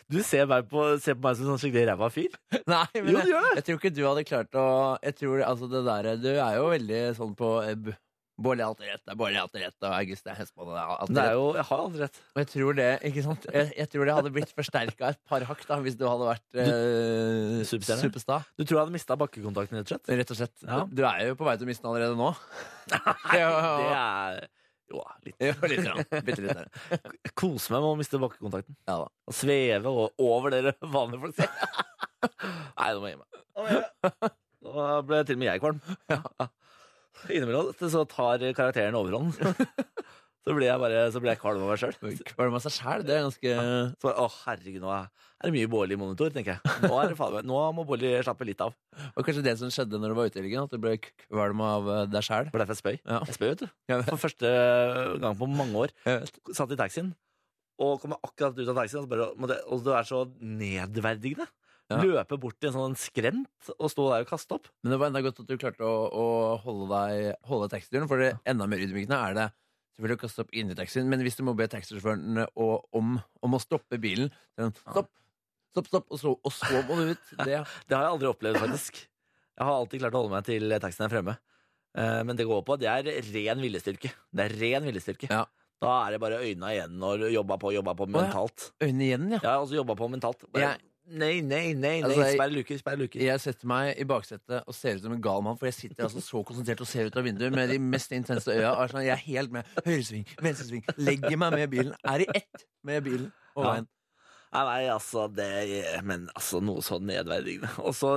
Speaker 3: Du ser, meg på, ser på meg som en sånn skikkelig ræva fyr.
Speaker 4: Nei, men
Speaker 3: Jo,
Speaker 4: jeg,
Speaker 3: du gjør det.
Speaker 4: jeg tror ikke du hadde klart å Jeg tror altså det der Du er jo veldig sånn på eh, b- Bård er alltid rett, det er Bård er alltid rett, og August er hestmann. Det er alltid
Speaker 3: Det er
Speaker 4: rett.
Speaker 3: jo, jeg har aldri rett.
Speaker 4: Og jeg tror det, ikke sant? Jeg, jeg tror det hadde blitt forsterka et par hakk da, hvis du hadde vært eh,
Speaker 3: Superstjerne?
Speaker 4: superstar.
Speaker 3: Du tror jeg hadde mista bakkekontakten, rett og slett?
Speaker 4: Rett og slett.
Speaker 3: Ja.
Speaker 4: Du er jo på vei til å miste den allerede nå. Det
Speaker 3: Det er Jo, litt.
Speaker 4: er jo litt grann. Bitte litt. grann.
Speaker 3: Jeg koser meg med å miste bakkekontakten.
Speaker 4: Ja da.
Speaker 3: Og sveve o- over dere vanlige folk. Nei, nå må jeg gi meg. Nå må jeg gi meg. Nå ble til og med jeg kvalm. Innimellom så tar karakteren overhånd. Så blir jeg bare så blir jeg kvalm av meg sjøl.
Speaker 4: Kvalm av seg sjæl, det er ganske
Speaker 3: Så bare, Å, herregud, nå er er det mye Bårli i monitor, tenker jeg. Nå, er det faen, meg- nå må Bårli slappe litt av.
Speaker 4: Og kanskje det som skjedde når du var ute i helgen, at du ble kvalm av eh, deg sjæl.
Speaker 3: Det var derfor jeg spøy.
Speaker 4: Ja.
Speaker 3: Jeg spøy, vet du.
Speaker 4: Jeg vet.
Speaker 3: For første gang på mange år
Speaker 4: Jeg vet.
Speaker 3: satt i taxien, og kommer akkurat ut av taxien, og, så bare, måtte- og det er så nedverdigende.
Speaker 4: Ja.
Speaker 3: Løpe bort til en sånn skrent og stå der og kaste opp.
Speaker 4: Men det var enda godt at du klarte å, å holde deg holde taxituren, for det enda mer ydmykende er det selvfølgelig å kaste opp inni taxien, men hvis du må be taxisjåføren å- om, om å stoppe bilen så er det sånn, Stopp! Stopp, stopp! Og så, og så må du ut. Det,
Speaker 3: Det har jeg aldri opplevd, faktisk. Jeg har alltid klart å holde meg til taxien er fremme. Eh, Men det går på at det er ren viljestyrke. Det er ren viljestyrke.
Speaker 4: Ja.
Speaker 3: Da er det bare øynene igjen og jobba på, jobba på
Speaker 4: ja.
Speaker 3: mentalt.
Speaker 4: øynene igjen, ja.
Speaker 3: Jeg har også jobba på mentalt. Bare,
Speaker 4: Jeg,
Speaker 3: Nei, nei, nei, nei.
Speaker 4: Altså, jeg-
Speaker 3: sperre luker, sperre luker.
Speaker 4: Jeg setter meg i baksetet og ser ut som en gal mann, for jeg sitter altså så konsentrert og ser ut av vinduet med de mest intense øya. og er sånn, Jeg er helt med. Høyresving, venstresving. Legger meg med bilen. Er i ett med bilen og
Speaker 3: Ja.
Speaker 4: veien.
Speaker 3: Nei, nei, altså det Men altså, noe så nedverdigende. Og så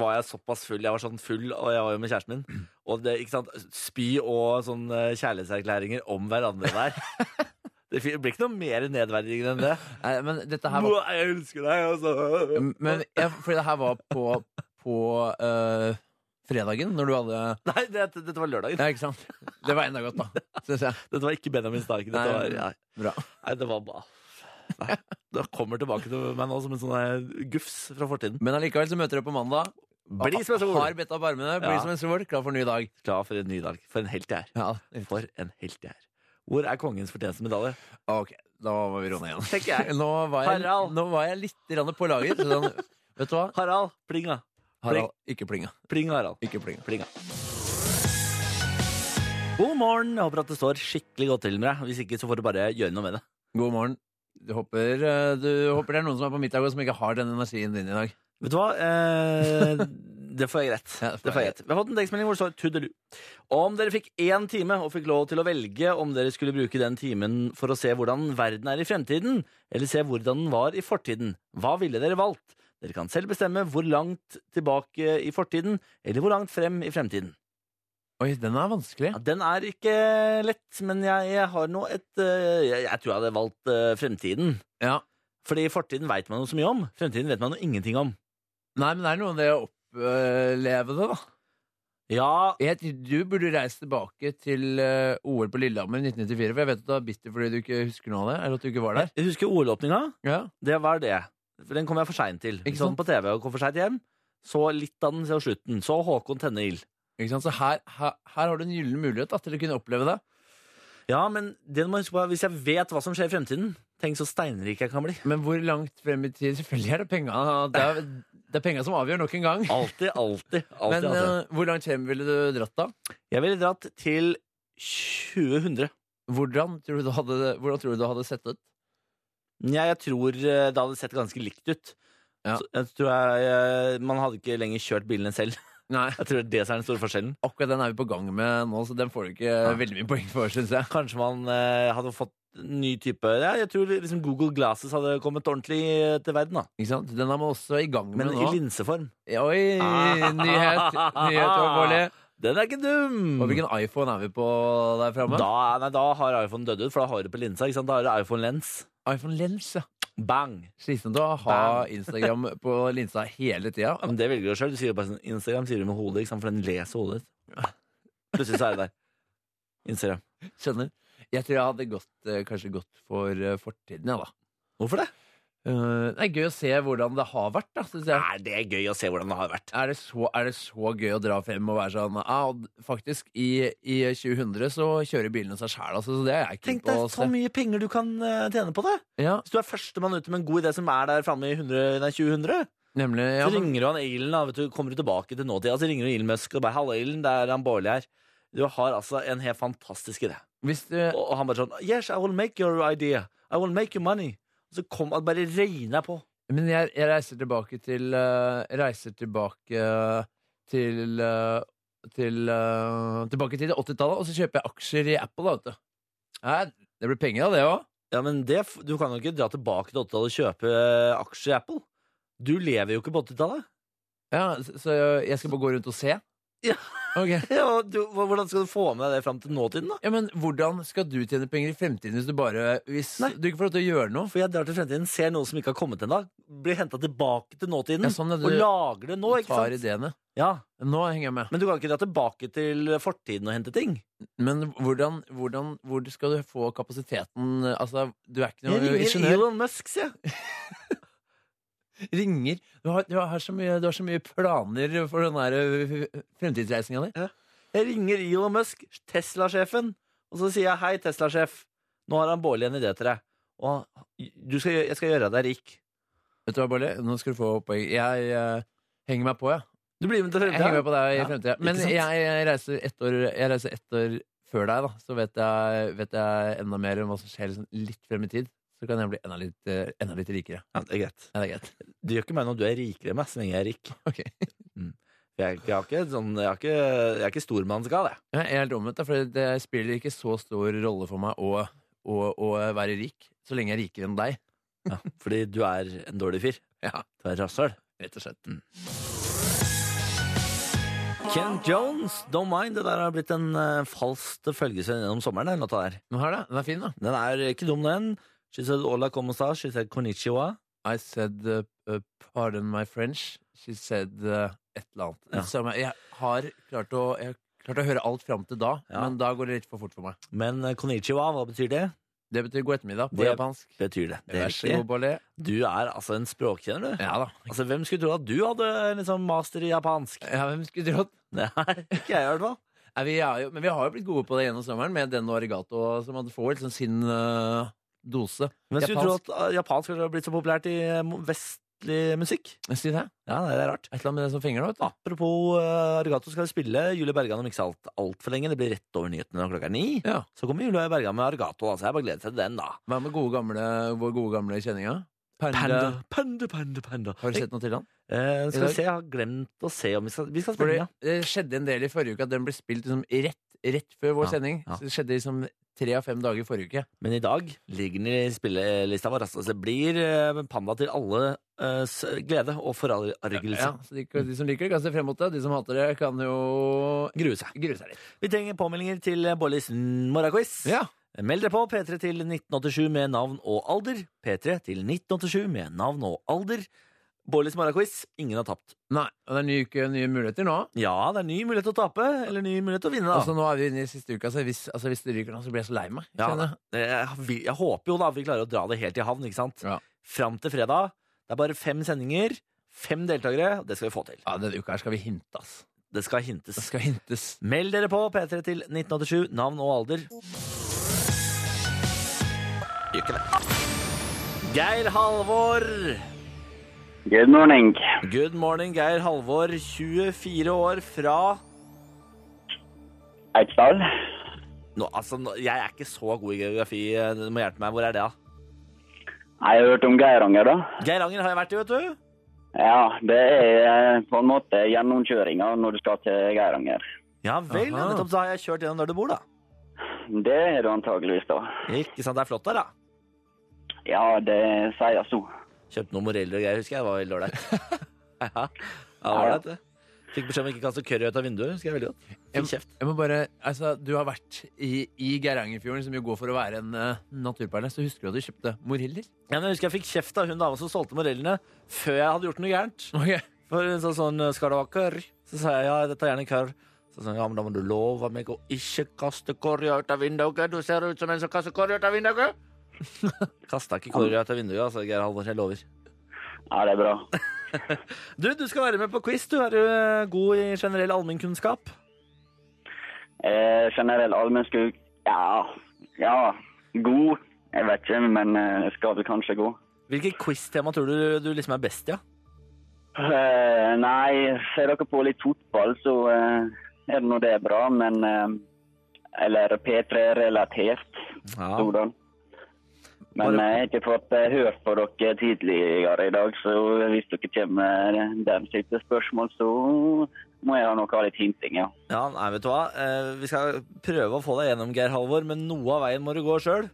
Speaker 3: var jeg såpass full. Jeg var sånn full, og jeg var jo med kjæresten min. Og det, ikke sant, spy og sånn eh, kjærlighetserklæringer om hverandre der. Det fi- blir ikke noe mer nedverdigende enn det.
Speaker 4: Nei, Eh, men dette her var
Speaker 3: Må- Jeg elsker deg, altså.
Speaker 4: men jeg, Fordi det her var på, på eh, fredagen, når du hadde
Speaker 3: Nei, det, dette var lørdagen.
Speaker 4: Ja, ikke sant? Det var enda godt, da. Syns jeg.
Speaker 3: Dette var ikke Benjamin Stark. Dette
Speaker 4: Nei,
Speaker 3: var, nei.
Speaker 4: Bra.
Speaker 3: nei, det var bare Nei, Det kommer tilbake til meg nå som en sånn eh, gufs fra fortiden.
Speaker 4: Men allikevel så møter dere på mandag.
Speaker 3: Bli som en sol.
Speaker 4: Har bedt opp armene. Bli
Speaker 3: Ja.
Speaker 4: som en sol. Klar for en ny dag.
Speaker 3: Klar for en ny dag. For en helt jeg er.
Speaker 4: Ja.
Speaker 3: For en helt jeg er. Hvor er kongens fortjenstmedalje?
Speaker 4: Ok, da var vi ronde igjen.
Speaker 3: Tenker jeg.
Speaker 4: Nå var jeg,
Speaker 3: Harald.
Speaker 4: nå var jeg litt grann på laget. så Sånn, vet du hva?
Speaker 3: Harald. Plinga.
Speaker 4: Harald, ikke plinga.
Speaker 3: Pling, Harald.
Speaker 4: Ikke plinga.
Speaker 3: Plinga. God morgen. Jeg håper at det står skikkelig godt til med deg. Hvis ikke, så får du bare gjøre noe med det.
Speaker 4: God morgen. Du håper, eh, du håper det er noen som er på middag og som ikke har den energien din i dag.
Speaker 3: Vet du hva? Eh, det får jeg greit.
Speaker 4: Ja,
Speaker 3: det får jeg greit. Vi har fått en tekstmelding hvor det står «Tudelu». Om dere fikk én time og fikk lov til å velge om dere skulle bruke den timen for å se hvordan verden er i fremtiden, eller se hvordan den var i fortiden, hva ville dere valgt? Dere kan selv bestemme hvor langt tilbake i fortiden, eller hvor langt frem i fremtiden.
Speaker 4: Oi, den er vanskelig.
Speaker 3: Ja, den er ikke lett, men jeg, jeg har nå et eh, jeg, jeg tror jeg hadde valgt eh, fremtiden.
Speaker 4: Ja.
Speaker 3: Fordi fortiden veit man jo så mye om. Fremtiden vet man jo ingenting om.
Speaker 4: Nei, men det er noe med det å oppleve det, da.
Speaker 3: Ja,
Speaker 4: Jeg, du burde reise tilbake til eh, OL på Lillehammer i 1994, for jeg vet at du er bitter fordi du ikke husker noe av det, eller at du ikke var der.
Speaker 3: Jeg husker OL-åpninga.
Speaker 4: Ja.
Speaker 3: Det var det. For Den kom jeg for seint til.
Speaker 4: Ikke
Speaker 3: Sånn
Speaker 4: sant?
Speaker 3: på TV og kom for seint hjem. Så litt av den, så slutten. Så Håkon tenne ild.
Speaker 4: Ikke sant? Så her, her, her har du en gyllen mulighet da, til å kunne oppleve det.
Speaker 3: Ja, men det du må huske på er, hvis jeg vet hva som skjer i fremtiden, tenk så steinrik jeg kan bli.
Speaker 4: Men hvor langt frem i tid? Selvfølgelig er det penga. Det er, det er penga som avgjør nok en gang.
Speaker 3: Alltid, alltid. alltid,
Speaker 4: Men
Speaker 3: alltid.
Speaker 4: eh, hvor langt frem ville du dratt da?
Speaker 3: Jeg ville dratt til 2000.
Speaker 4: Hvordan tror du du hadde, hvordan tror du du hadde sett ut?
Speaker 3: Ja, jeg tror eh, det hadde sett ganske likt ut.
Speaker 4: Ja.
Speaker 3: Så jeg tror jeg, eh, Man hadde ikke lenger kjørt bilene selv.
Speaker 4: Nei,
Speaker 3: Jeg tror det som er den store forskjellen.
Speaker 4: akkurat den er vi på gang med nå, så den får du ikke veldig mye poeng for, syns jeg.
Speaker 3: Kanskje man eh, hadde fått ny type ja, Jeg tror liksom Google Glasses hadde kommet ordentlig eh, til verden. da
Speaker 4: Ikke sant? Den er man også i gang med
Speaker 3: Men
Speaker 4: nå.
Speaker 3: i linseform.
Speaker 4: Oi, nyhet! Nyhet og Bårli.
Speaker 3: Den er ikke dum!
Speaker 4: Og hvilken iPhone er vi på der framme?
Speaker 3: Da, nei, da har iPhone dødd ut, for da har du på linsa. Ikke sant? Da har du iPhone-lens.
Speaker 4: iPhone Lens, ja.
Speaker 3: Bang!
Speaker 4: Slitsomt å ha Instagram på linsa hele tida.
Speaker 3: Men det velger du sjøl. Du sier jo bare sånn Instagram sier du med hodet, ikke sant? for den leser hodet ditt. Plutselig så er det der. Instagram.
Speaker 4: Skjønner. Jeg tror jeg hadde gått, eh, kanskje gått for eh, fortiden, ja da.
Speaker 3: Hvorfor det?
Speaker 4: Eh, det er gøy å se hvordan det har vært, da, syns jeg.
Speaker 3: Nei, det er gøy å se hvordan det har vært.
Speaker 4: Er det, så, er det så gøy å dra frem og være sånn ah, og Faktisk, i, i 2000 så kjører bilene seg sjæl, altså. Så det er jeg keen
Speaker 3: Tenk
Speaker 4: på
Speaker 3: deg
Speaker 4: å
Speaker 3: så
Speaker 4: se.
Speaker 3: mye penger du kan eh, tjene på det!
Speaker 4: Ja,
Speaker 3: Hvis du er førstemann ute med en god idé som er der framme i 100, nei, 2000,
Speaker 4: nemlig.
Speaker 3: så
Speaker 4: Ja, men,
Speaker 3: ringer du han Elon, da, vet du, kommer du tilbake til nåtida, så ringer du Elon Musk og bare 'Halla, Elon, det er han Bårli her'. Du har altså en helt fantastisk idé.
Speaker 4: hvis du,
Speaker 3: Og og han bare sånn Yes, I will make your idea. I will make your money. Og så kom han bare regna på.
Speaker 4: men jeg, jeg reiser tilbake til eh, Reiser tilbake til eh, til, eh, tilbake til 80-tallet, og så kjøper jeg aksjer i Apple. da, vet du. Nei, det blir penger av det òg.
Speaker 3: Ja, men det, f- Du kan jo ikke dra tilbake til 80-tallet og kjøpe eh, aksjer i Apple. Du lever jo ikke på 80-tallet.
Speaker 4: Ja, så, så jeg skal bare gå rundt og se?
Speaker 3: Ja.
Speaker 4: Ok.
Speaker 3: Ja, og du- hva- hvordan skal du få med deg det fram til nåtiden, da?
Speaker 4: Ja, men Hvordan skal du tjene penger i fremtiden hvis du bare Hvis
Speaker 3: Nei.
Speaker 4: du ikke får lov til å gjøre noe?
Speaker 3: For jeg drar til fremtiden, ser noe som ikke har kommet ennå, blir henta tilbake til nåtiden
Speaker 4: Ja, sånn er det.
Speaker 3: og lager det nå.
Speaker 4: Du
Speaker 3: ikke
Speaker 4: tar
Speaker 3: sant?
Speaker 4: ideene.
Speaker 3: Ja,
Speaker 4: Nå henger jeg med.
Speaker 3: Men du kan ikke dra tilbake til fortiden og hente ting.
Speaker 4: Men hvordan, hvordan hvor skal du få kapasiteten Altså, du er ikke
Speaker 3: Jeg
Speaker 4: noe
Speaker 3: ringer
Speaker 4: ingeniør.
Speaker 3: Elon Musk, sier jeg.
Speaker 4: Ringer. Du har, du, har så mye, du har så mye planer for den der øh, fremtidsreisinga di.
Speaker 3: Jeg ringer Elon Musk, Tesla-sjefen, og så sier jeg hei, Tesla-sjef. Nå har han Bårli en idé til deg. Og du skal, gjø- jeg skal gjøre deg rik.
Speaker 4: Vet du hva, Bolle? Nå skal du få poeng. Jeg eh, henger meg på, jeg.
Speaker 3: Du blir med til
Speaker 4: Jeg henger med
Speaker 3: fremtiden.
Speaker 4: på deg i
Speaker 3: Ja,
Speaker 4: fremtida.
Speaker 3: ikke
Speaker 4: Men
Speaker 3: sant?
Speaker 4: jeg, jeg reiser ett år, jeg reiser ett år før deg, da. Så vet jeg, vet jeg enda mer om hva som skjer liksom, litt frem i tid. så kan jeg bli enda litt, eh, enda litt rikere.
Speaker 3: Ja, det er greit.
Speaker 4: Ja, det er greit.
Speaker 3: Det gjør ikke meg noe om du er rikere enn meg, så lenge jeg er rik.
Speaker 4: Ok.
Speaker 3: Mm. Jeg, er ikke- jeg, har ikke, sånn, jeg, har ikke, jeg er ikke stormannsgal, jeg.
Speaker 4: Jeg er helt omvendt, da, for det spiller ikke så stor rolle for meg å, å, å være rik, så lenge jeg er rikere enn deg.
Speaker 3: Ja, fordi du er en dårlig fyr.
Speaker 4: Ja.
Speaker 3: Du er rasshøl.
Speaker 4: Rett og slett.
Speaker 3: Ken Jones, Don't Mind. Det der har blitt en uh, falsk følgesvenn gjennom sommeren. Den, låta der.
Speaker 4: Men her, da. Den er fin, da.
Speaker 3: den er ikke dum, den. She said ola komosa, she said konnichiwa.
Speaker 4: I said uh, uh, pardon my French. She said uh, et eller annet.
Speaker 3: Ja.
Speaker 4: Samme- jeg har klart å, jeg har klart å høre alt fram til da,
Speaker 3: Ja.
Speaker 4: men da går det litt for fort for meg.
Speaker 3: Men eh, konnichiwa, hva betyr det?
Speaker 4: Det betyr god ettermiddag på
Speaker 3: Det-
Speaker 4: japansk.
Speaker 3: Betyr det. det er
Speaker 4: Vær så god,
Speaker 3: riktig.
Speaker 4: Bollet.
Speaker 3: Du er altså en språkkjenner, du.
Speaker 4: Ja da.
Speaker 3: Altså, Hvem skulle tro at du hadde liksom, master i japansk?
Speaker 4: Ja, hvem skulle trodd?
Speaker 3: Nei, ikke jeg i hvert fall.
Speaker 4: Nei, vi er jo, men vi har jo blitt gode på det gjennom sommeren med den og Arigato som hadde får liksom sin uh, dose.
Speaker 3: Men skulle du tro at eh, japansk hadde blitt så populært i eh, mo- vestlig musikk?
Speaker 4: Si det.
Speaker 3: Ja, nei, det er rart.
Speaker 4: Et eller annet med det som fingrer, vet du.
Speaker 3: Apropos eh, Arigato, skal vi spille Julie Bergan om ikke så alt altfor lenge. Det blir rett over nyhetene når klokka er ni.
Speaker 4: Ja.
Speaker 3: Så kommer Julie Bergan med Arigato. Altså. Jeg bare gleder seg til den, da.
Speaker 4: Hva med gode gamle, vår gode gamle kjenninga? Panda.
Speaker 3: eh, panda, panda, panda.
Speaker 4: Har du sett noe til han?
Speaker 3: Eh,
Speaker 4: I
Speaker 3: skal
Speaker 4: dag?
Speaker 3: vi se, jeg har glemt å se om vi skal Vi skal
Speaker 4: For
Speaker 3: spille,
Speaker 4: det, det skjedde en del i forrige uke at den ble spilt liksom rett, rett før vår
Speaker 3: Ja,
Speaker 4: sending.
Speaker 3: ja.
Speaker 4: Så det skjedde liksom tre av fem dager i forrige uke.
Speaker 3: ja. Men i dag ligger den i spillelista vår. Altså, det blir eh, panda til alle eh, s- glede og forargelse.
Speaker 4: Ja, så de, de som liker det, kan se frem mot det. De som hater det, kan jo
Speaker 3: Grue seg.
Speaker 4: grue seg litt.
Speaker 3: Vi trenger påmeldinger til Bollis morgenquiz. Meld deg på P3 til 1987 med navn og alder. P3 til 1987 med navn og alder. Bårlis morgenquiz. Ingen har tapt.
Speaker 4: Nei, og det er ny uke, nye muligheter nå.
Speaker 3: Ja, det er ny mulighet til å tape, eller ny mulighet til å vinne, da.
Speaker 4: Altså, nå er vi inne i siste uka, så hvis, altså, hvis det ryker nå, så blir jeg så lei meg.
Speaker 3: Ja,
Speaker 4: kjenner jeg.
Speaker 3: jeg, vil- jeg håper jo da vi klarer å dra det helt i havn, ikke sant?
Speaker 4: Ja.
Speaker 3: Fram til fredag. Det er bare fem sendinger, fem deltakere. og Det skal vi få til.
Speaker 4: ja, denne uka her skal vi hinte, ass.
Speaker 3: Det skal
Speaker 4: Det
Speaker 3: hintes.
Speaker 4: skal hintes.
Speaker 3: Meld dere på P3 til 1987, navn og alder. Gjør ikke det. Geir Halvor.
Speaker 5: Good morning.
Speaker 3: Good morning, Geir Halvor, 24 år fra
Speaker 5: Eidsdal.
Speaker 3: nå, altså, nå, Jeg er ikke så god i geografi, eh, du må hjelpe meg. Hvor er det, da?
Speaker 5: Jeg har hørt om Geiranger, da.
Speaker 3: Geiranger har jeg vært i, vet du.
Speaker 5: Ja, det er eh, på en måte gjennomkjøringa når du skal til Geiranger.
Speaker 3: Ja vel, ja,
Speaker 4: Aha.
Speaker 3: nettopp så har jeg kjørt gjennom der du bor, da.
Speaker 5: Det er du antageligvis, da.
Speaker 3: Ikke sant, det er flott der, da.
Speaker 5: Ja, det sier så.
Speaker 3: Kjøpte noen moreller og greier, husker jeg. Det var veldig ålreit. ja, det var ålreit, det. Fikk beskjed om ikke å kaste curry ut av vinduet, husker jeg veldig godt. Fikk kjeft.
Speaker 4: Jeg må bare, altså, du har vært i, i Geirangerfjorden, som jo går for å være en eh, naturperle, så husker du at du kjøpte moriller?
Speaker 3: Ja, men jeg husker jeg fikk kjeft av hun dama som solgte morellene, før jeg hadde gjort noe gærent.
Speaker 4: Ok.
Speaker 3: For hun sa sånn, skal det være kørr? Så sa jeg, ja, jeg tar gjerne kørr. Så sa hun, ja, men da må du love meg å ikke kaste korri ut av vinduet. Du ser ut som en som kaster korri ut av vinduet. Kasta ikke korri ut av vinduet, altså, Geir Halvor, jeg lover.
Speaker 5: Ja, det er bra.
Speaker 3: Du, du skal være med på quiz. Du er jo eh, god i generell allmennkunnskap.
Speaker 5: Eh, generell allmennskog Ja. Ja. God. Jeg vet ikke, men eh, skal vel kanskje gå.
Speaker 3: Hvilket quiz-tema tror du du liksom er best i? Ja?
Speaker 5: Eh, nei, ser dere på litt fotball, så eh, er det nå det er bra, men eh, Eller P3-relatert.
Speaker 3: Ja.
Speaker 5: Stordalen. Men
Speaker 3: Bare-
Speaker 5: jeg har ikke fått eh, hørt på dere tidligere i dag, så hvis dere kommer med den type spørsmål, så må jeg nok ha litt hinting, ja.
Speaker 3: ja, nei, vet du hva. Eh, vi skal prøve å få deg gjennom, Geir Halvor, men noe av veien må du gå sjøl.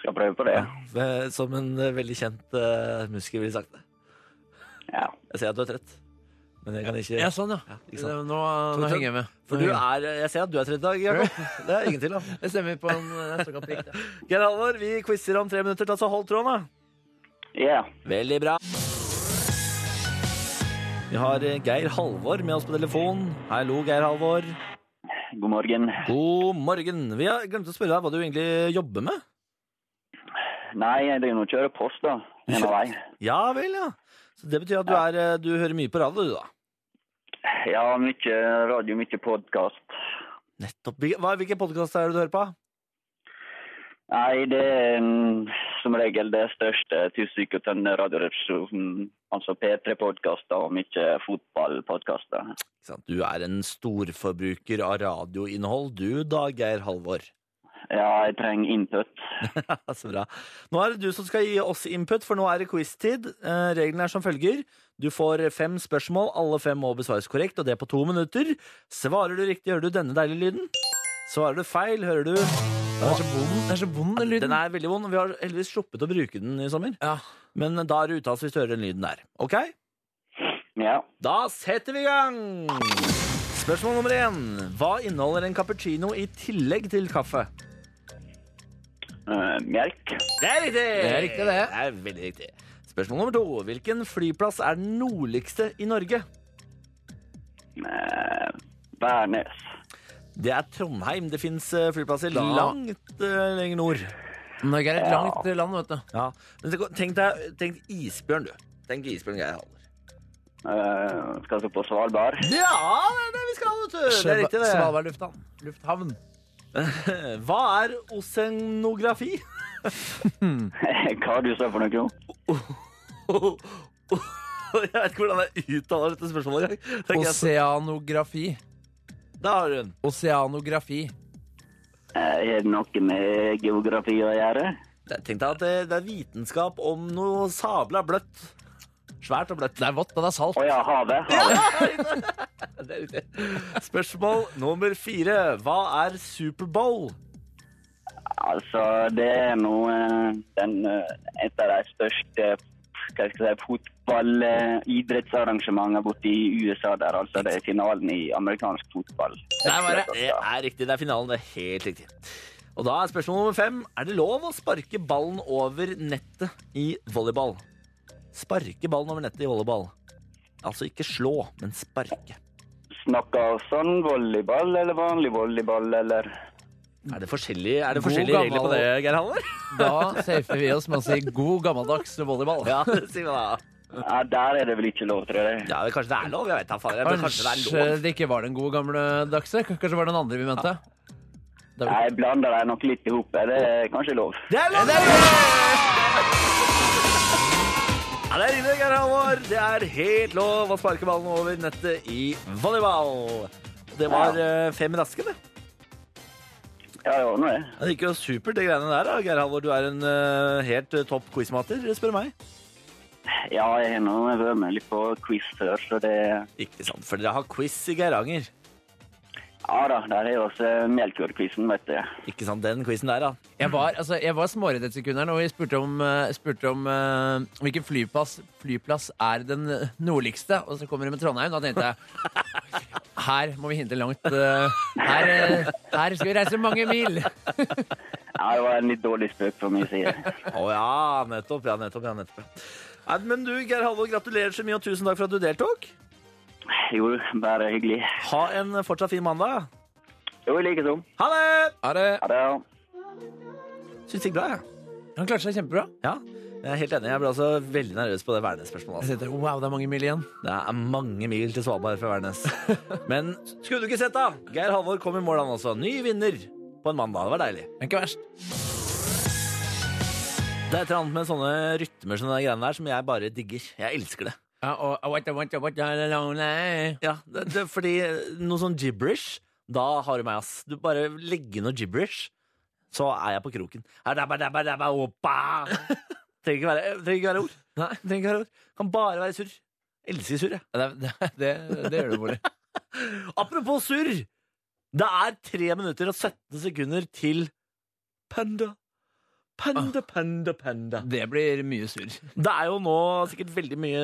Speaker 5: Skal prøve på det.
Speaker 3: Som en eh, veldig kjent eh, musiker ville sagt det.
Speaker 5: Ja.
Speaker 3: Jeg ser at du er trett, men jeg kan ikke
Speaker 4: Ja, sånn, ja.
Speaker 3: ikke sant.
Speaker 4: Eh, Nå, nå henger jeg med.
Speaker 3: For du er, jeg ser at du er trett i dag, Jakob. Det er ingen til, da.
Speaker 4: Det stemmer på en eh, såkalt plikt. ja.
Speaker 3: Geir Halvor, vi quizer om tre minutter, ta så hold tråden, da.
Speaker 5: ja.
Speaker 3: Veldig bra. Vi har eh, Geir Halvor med oss på telefon. Hallo, Geir Halvor.
Speaker 5: God morgen.
Speaker 3: God morgen. Vi har glemt å spørre deg hva du egentlig jobber med.
Speaker 5: Nei, jeg driver nå og kjører post, da. En av vei.
Speaker 3: Ja vel, ja. Så det betyr at du, er, eh, du hører mye på radio, du, da.
Speaker 5: Ja, mye radio, mye podkast.
Speaker 3: Nettopp. Hvil- hva- Hvilke podkaster er det du hører på?
Speaker 5: Nei, det er mm, som regel det største Tusvik og Tønne radioresepsjonen. Altså P3-podkaster og mye fotballpodkaster.
Speaker 3: Ikke sant? Du er en storforbruker av radioinnhold, du da, Geir Halvor.
Speaker 5: Ja, jeg trenger input.
Speaker 3: Så bra. Nå er det du som skal gi oss input, for nå er det quiz-tid. Eh, Reglene er som følger. Du får fem spørsmål. Alle fem må besvares korrekt, og det på to minutter. Svarer du riktig, hører du denne deilige lyden. Svarer du feil, hører du
Speaker 4: Den er så vond, den, er så vond, den lyden.
Speaker 3: Den er veldig vond. og Vi har heldigvis sluppet å bruke den i sommer.
Speaker 4: Ja.
Speaker 3: Men da er det uttalt hvis du hører den lyden der. Ok?
Speaker 5: Ja.
Speaker 3: Da setter vi i gang! Spørsmål nummer én. Hva inneholder en cappuccino i tillegg til kaffe?
Speaker 5: Eh, melk.
Speaker 3: Det er riktig!
Speaker 4: Det er riktig, det.
Speaker 3: Det er veldig riktig. Spørsmål nummer to. Hvilken flyplass er den nordligste i Norge?
Speaker 5: Eh, Værnes.
Speaker 3: Det er Trondheim. Det fins flyplasser
Speaker 4: Da-
Speaker 3: langt eh, lenger nord.
Speaker 4: Norge er et langt eh, land, vet du.
Speaker 3: Ja. Men tenk- tenk deg tenk isbjørn, du. Tenk isbjørn Geir Haller.
Speaker 5: Eh, skal du på Svalbard?
Speaker 3: Ja, det er det vi skal, vet du. Det er riktig, det.
Speaker 4: Svalbard lufthavn. lufthavn.
Speaker 3: Hva er osenografi?
Speaker 5: Hva du sa for noe?
Speaker 3: Jeg vet ikke hvordan jeg uttaler dette spørsmålet engang. Det er ikke jeg som-
Speaker 4: Oseanografi.
Speaker 3: Der har du den.
Speaker 4: Oseanografi.
Speaker 5: Eh, er det noe med geografi å gjøre?
Speaker 3: Tenk deg at det, det er vitenskap om noe sabla bløtt. Svært og bløtt.
Speaker 4: Det er vått, og det er
Speaker 5: Å
Speaker 4: salt.
Speaker 5: ja, havet. havet.
Speaker 3: Det er riktig. Spørsmål nummer fire. Hva er Superbowl?
Speaker 5: Altså, det er nå eh, den eh, et av de største hva skal jeg si, fotballidrettsarrangementene borte i USA der, altså. Det er finalen i amerikansk fotball.
Speaker 3: Nei, bare, det er riktig. Det er finalen. Det er helt riktig. Og da er spørsmål nummer fem. Er det lov å sparke ballen over nettet i volleyball? Sparke ballen over nettet i volleyball. Altså ikke slå, men sparke.
Speaker 5: Snakker sånn volleyball eller vanlig volleyball, eller?
Speaker 3: Er det forskjellige, er det
Speaker 4: God
Speaker 3: forskjellige regler på
Speaker 4: gammel-
Speaker 3: det, Geir Haller?
Speaker 4: Da safer vi oss med å si god gammeldags volleyball.
Speaker 3: Ja, si meg da.
Speaker 5: Ja, der er det vel ikke lov, tror jeg.
Speaker 3: Ja, men kanskje det er lov? Jeg vet da faen. Jeg tror kanskje det
Speaker 4: Kanskje
Speaker 3: er lov.
Speaker 4: det ikke var den gode gamle dagse? Kanskje var det den andre vi mente? Det er-
Speaker 5: Jeg blander dem nok litt ihop. Er det kanskje lov?
Speaker 3: Det er lov! Ja, det er riktig, Geir Halvor. Det er helt lov å sparke ballen over nettet i volleyball. Det var eh, fem raske, det.
Speaker 5: Ja, ja, nå er det.
Speaker 3: Ja, Det gikk jo supert, det greiene der. da. Geir Halvor, du er en eh, helt eh, topp quizmater, spør meg.
Speaker 5: Ja, jeg har nå vært med litt på quiz før, så det
Speaker 3: Ikke sant, for dere har quiz i Geiranger.
Speaker 5: Ja da, der er jo også Melkjord-quizen, vet du.
Speaker 3: Ikke sant, den quizen der, da.
Speaker 4: Jeg var, altså, jeg var småredd et sekund her nå. og Jeg spurte om, eh, spurte om eh, hvilken flyplass, flyplass er den nordligste, og så kommer de med Trondheim. Da tenkte jeg her må vi hinte langt. eh, her, eh, her skal vi reise mange mil!
Speaker 5: Ja, det var en litt dårlig spøk fra min side.
Speaker 3: Å ja, nettopp. Ja, nettopp. ja, nettopp. Nei, Men du, Geir Halvor, gratulerer så mye, og tusen takk for at du deltok.
Speaker 5: Jo, bare hyggelig.
Speaker 3: Ha en fortsatt fin mandag.
Speaker 5: Jo, likeså.
Speaker 3: Ha det!
Speaker 4: Er det,
Speaker 5: Ha det.
Speaker 3: Syns det gikk bra, jeg.
Speaker 4: han klarte seg kjempebra.
Speaker 3: Ja, jeg er helt enig. Jeg ble også veldig nervøs på det Værnes-spørsmålet.
Speaker 4: Jeg
Speaker 3: Altså.
Speaker 4: tenkte, wow, det er mange mil igjen.
Speaker 3: Det er mange mil til Svalbard fra Værnes. Men skulle du ikke sett, da? Geir Halvor kom i mål, han også. Ny vinner på en mandag. Det var deilig.
Speaker 4: Det er ikke verst.
Speaker 3: Det er et eller annet med sånne rytmer som de greiene der som jeg bare digger. Jeg elsker det.
Speaker 4: Ja, og- og what, what, what, eh. what, lonely.
Speaker 3: Ja, det, det Fordi noe sånn gibberish, da har du meg, ass. Du bare legger noe gibberish, så er jeg på kroken. Adabadabadabaopa. Trenger ikke være, trenger ikke være ord. Nei, trenger ikke være ord. Kan bare være surr. Elsker surr, jeg.
Speaker 4: Det, det, det, det gjør det bolig.
Speaker 3: Apropos surr! Det er 3 minutter og 17 sekunder til Panda. Panda, panda, panda.
Speaker 4: Det blir mye surr.
Speaker 3: Ah. Det er jo nå sikkert veldig mye